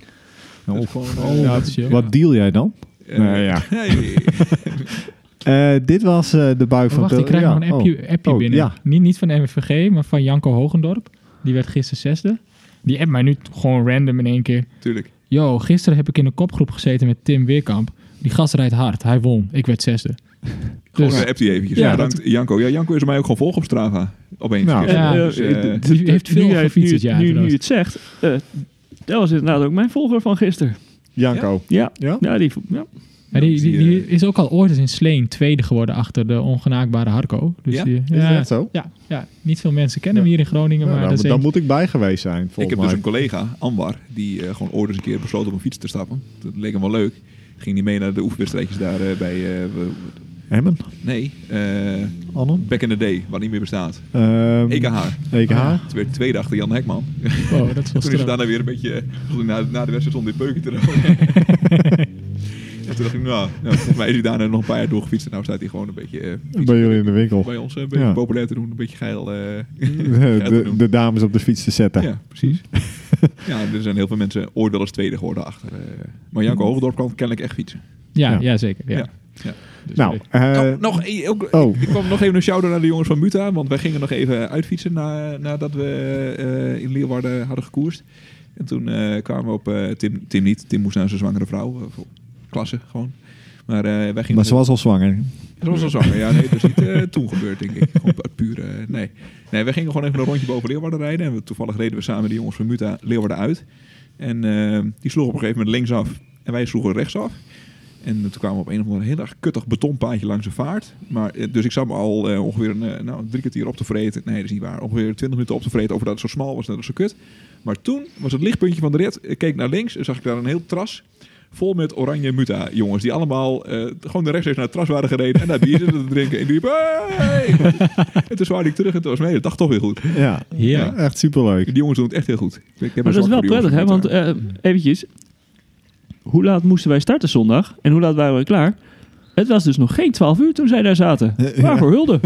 A: Nou,
C: Dat is gewoon,
B: Oh,
C: eh,
B: dat is, ja.
A: Wat deal jij dan?
C: eh,
A: Nee, ja.
C: hey. (laughs)
A: Eh, dit was eh, de buik
B: Oh,
A: van...
B: wacht, ik
A: Tel-
B: krijg
A: ja,
B: nog een appje,
A: oh.
B: appje
A: Oh,
B: binnen.
A: ja.
B: Niet, niet van MVG, maar van Janko Hogendorp. Die werd gisteren zesde. Die appt mij nu t- gewoon random in één keer.
C: Tuurlijk.
B: Yo, gisteren heb ik in een kopgroep gezeten met Tim Weerkamp. Die gast rijdt hard. Hij won. Ik werd zesde.
C: Gewoon
B: Dus
C: eh, appt hij eventjes.
B: Ja,
C: Ja, bedankt, Janko. Ja, Janko is mij ook gewoon volgen op Strava. Opeens.
A: Nou,
C: Dus,
E: (laughs)
B: ja.
E: Eh,
C: dus,
E: eh,
C: eh,
E: d-
B: die
E: d-
B: heeft veel
E: nu jij-
B: gefietst
E: nu-
B: dit jaar,
E: Nu, nu
B: trouwens.
E: je het zegt, eh, dat was inderdaad ook mijn volger van gisteren.
A: Janko.
E: Ja,
A: Ja?
E: ja, die, ja.
B: Maar die, die,
C: Die,
B: die
C: eh,
B: is ook al ooit eens in Sleen tweede geworden achter de ongenaakbare Harco. Dus
C: Ja?
B: die-
A: Is
B: ja,
A: dat zo?
B: ja, ja, niet veel mensen kennen hem hier in Groningen,
A: Nou,
B: maar
A: dan,
B: dat is
A: dan
B: een-
A: moet ik bij geweest zijn,
C: Ik
A: volgens
C: heb
A: mij.
C: dus een collega, Anwar, die eh, gewoon ooit eens een keer besloot op een fiets te stappen. Dat leek hem wel leuk. Ging hij mee naar de oefenwedstrijdjes daar eh, bij... eh, we-
A: Hemmen?
C: nee, eh,
A: Annen?
C: Back in the Day, wat niet meer bestaat.
A: Ehm,
C: EKH.
A: EKH?
C: Het werd tweede achter Jan Hekman. (laughs)
B: wow, Oh, dat is wel
C: Toen is het
B: strak.
C: daarna weer een beetje... eh, toen na, na de wedstrijd stond dit peuken te roken. en toen dacht ik, nou, nou, volgens mij is hij daarna nog een paar jaar doorgefietst. En nou staat hij gewoon een beetje... eh, fietsen
A: Bij jullie in de winkel.
C: bij ons eh, een beetje
A: Ja.
C: populair te doen. Een beetje geil. eh,
A: (laughs)
C: (laughs)
A: De,
C: Ja, te
A: de,
C: doen.
A: de dames op de fiets te zetten.
C: Ja, (laughs) precies. ja, er zijn heel veel mensen ooit wel eens tweede geworden achter. eh, maar Janko Hoogdorp kan kennelijk echt fietsen.
B: (laughs) Ja,
A: Ja.
B: ja, zeker. Ja.
C: Ja. Ja.
B: Dus,
A: nou,
B: eh,
A: eh,
C: Nou, nog, eh, ook,
A: oh.
C: Ik kwam nog even een shout-out naar de jongens van Muta. Want wij gingen nog even uitfietsen na, nadat we eh, in Leeuwarden hadden gekoerst. En toen eh, kwamen we op... eh, Tim, Tim niet. Tim moest naar zijn zwangere vrouw. eh, voor klasse gewoon. Maar eh, wij gingen...
A: maar ze was al zwanger.
C: Dat was al zwanger. Ja, nee, dat is niet eh, toen gebeurd, denk ik. Gewoon uit pure... eh, nee. nee, wij gingen gewoon even een rondje boven Leeuwarden rijden. En we, toevallig reden we samen de jongens van Muta Leeuwarden uit. En eh, die sloegen op een gegeven moment linksaf. En wij sloegen rechtsaf. En toen kwamen we op een of andere heel erg kuttig betonpaadje langs een vaart. Maar, eh, dus ik zat me al eh, ongeveer een, eh, nou, drie kwartier op te vreten. Nee, dat is niet waar. Ongeveer 20 minuten op te vreten over dat het zo smal was en dat het zo kut. Maar toen was het lichtpuntje van de rit. Ik keek naar links en zag ik daar een heel tras vol met oranje muta jongens. Die allemaal eh, gewoon de rechtstreeks naar het tras waren gereden. En daar bier zitten te drinken. En die riep,
E: (laughs)
C: "Hey!" En toen zwaaide ik terug en toen was mijn hele dag toch weer goed.
A: Ja,
B: Ja.
A: echt superleuk.
C: Die jongens doen het echt heel goed. Ik heb een
E: Maar dat
C: zwak
E: is wel
C: voor die jongens
E: prettig,
C: van
E: hè? Want
C: Muta.
E: eh eventjes, hoe laat moesten wij starten zondag? En hoe laat waren we klaar? Het was dus nog geen 12 uur toen zij daar zaten. Waarvoor hulde?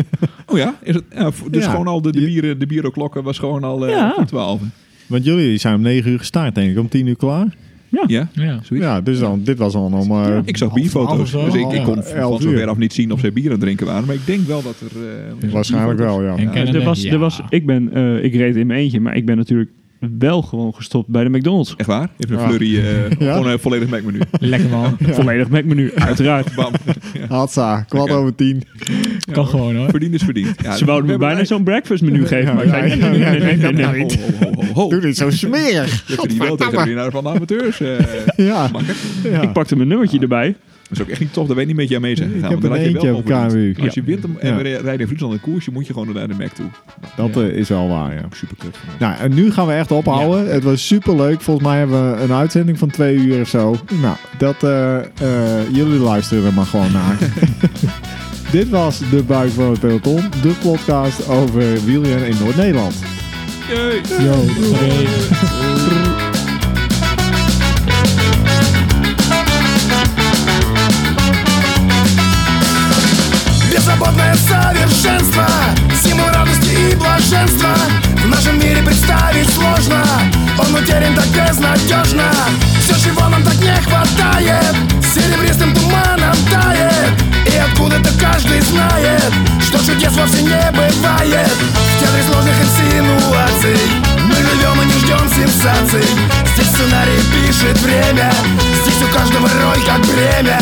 C: Oh ja? Is het, ja, v- dus
A: Ja.
C: gewoon al de, de, bieren, de bieroklokken was gewoon al eh
E: Ja.
C: voor 12.
A: Want jullie zijn om 9 uur gestart, denk ik. Om 10 uur klaar.
C: Ja?
B: ja.
A: Ja, dus dan, dit was dan om. eh,
C: Ik zag
A: half-
C: bierfoto's.
A: half-
C: Dus ik, ik kon
A: half-
C: van
A: elf
C: zover
A: uur.
C: af niet zien of zij bier aan het drinken waren. Maar ik denk wel dat er... eh,
A: Waarschijnlijk wel, ja.
B: En
E: Eh,
B: kennen
E: er
B: de-
E: was,
B: ja.
E: er was, ik, ben, eh, ik reed in mijn eentje, maar ik ben natuurlijk wel gewoon gestopt bij de McDonald's.
C: Echt waar? Even een
A: Ja.
C: flurry. eh,
A: (laughs) Ja.
C: Gewoon een volledig menu.
B: Lekker man.
E: Volledig menu, uiteraard.
A: (laughs)
C: Bam.
A: Hatsa, kwart
C: Oké.
A: over 10.
B: Kan gewoon hoor.
C: Verdiend is verdiend. Ja,
E: Ze wouden
C: we
E: me
C: hebben
E: bijna zo'n breakfastmenu geven, maar ik zei,
A: Ja,
E: nee,
A: ja,
E: nee,
A: ja,
E: nee, nee, nee, nee.
A: dat niet.
C: Ho, ho, ho, ho.
A: Doe niet zo
C: (laughs)
A: smerig.
C: Je hebt die wel tegen de winnaar van de
A: (laughs)
C: amateurs. eh
A: Ja,
C: smakken.
A: ja.
E: Ik pakte mijn nummertje erbij.
C: Dat is ook echt niet tof. Daar ben je niet met je aan mee zijn
A: Ik
C: gegaan.
A: heb
C: want dan
A: er
C: had je
A: eentje
C: wel
A: op
C: gewoon verdiend.
A: KMU.
C: Als je wint hem- en
A: Ja.
C: we rijden in Friesland een koersje, moet je gewoon naar de Mac toe.
A: Dat eh, is wel waar, ja.
C: Super kut.
A: Nou, en nu gaan we echt ophouden. Het was superleuk. Volgens mij hebben we een uitzending van twee uur of zo. Nou, dat, eh, eh, jullie luisteren er maar gewoon naar. Dit was De Buik van het Peloton. De podcast over wielrennen in Noord-Nederland.
B: Yo, sorry.
F: Беззаботное совершенство Символ радости и блаженства В нашем мире представить сложно Он утерян так безнадежно Все, чего нам так не хватает Серебристым туманом тает И откуда-то каждый знает Что чудес вовсе не бывает В театре сложных инсинуаций Мы живем и не ждем сенсаций Здесь сценарий пишет время Здесь у каждого роль как бремя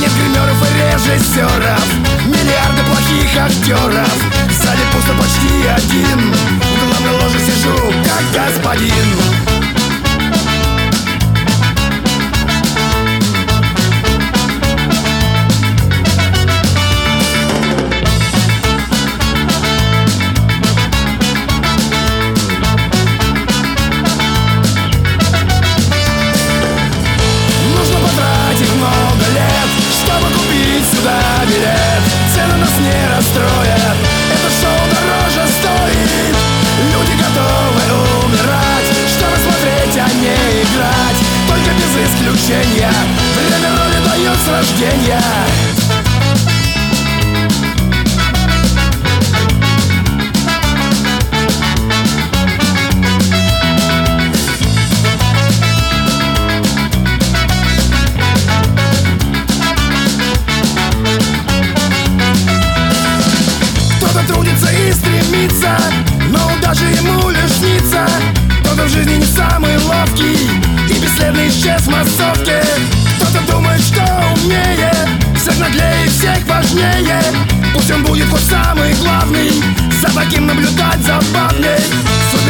F: Нет гримеров и режиссеров режиссеров Миллиарды плохих актеров В зале пусто почти один В главной ложе сижу, как господин Нужно потратить много лет, чтобы купить сюда билет. Цены нас не расстроят, это шоу дороже стоит. Люди готовы умирать, чтобы смотреть, а не играть. Только без исключения, время роли дает с рождения. Кто-то трудится и стремится, но удача ему лишь снится Кто-то в жизни не самый ловкий и бесследно исчез в массовке Кто-то думает, что умнее, всех наглее и всех важнее Пусть он будет хоть самый главный, за таким наблюдать забавней Судьба а а а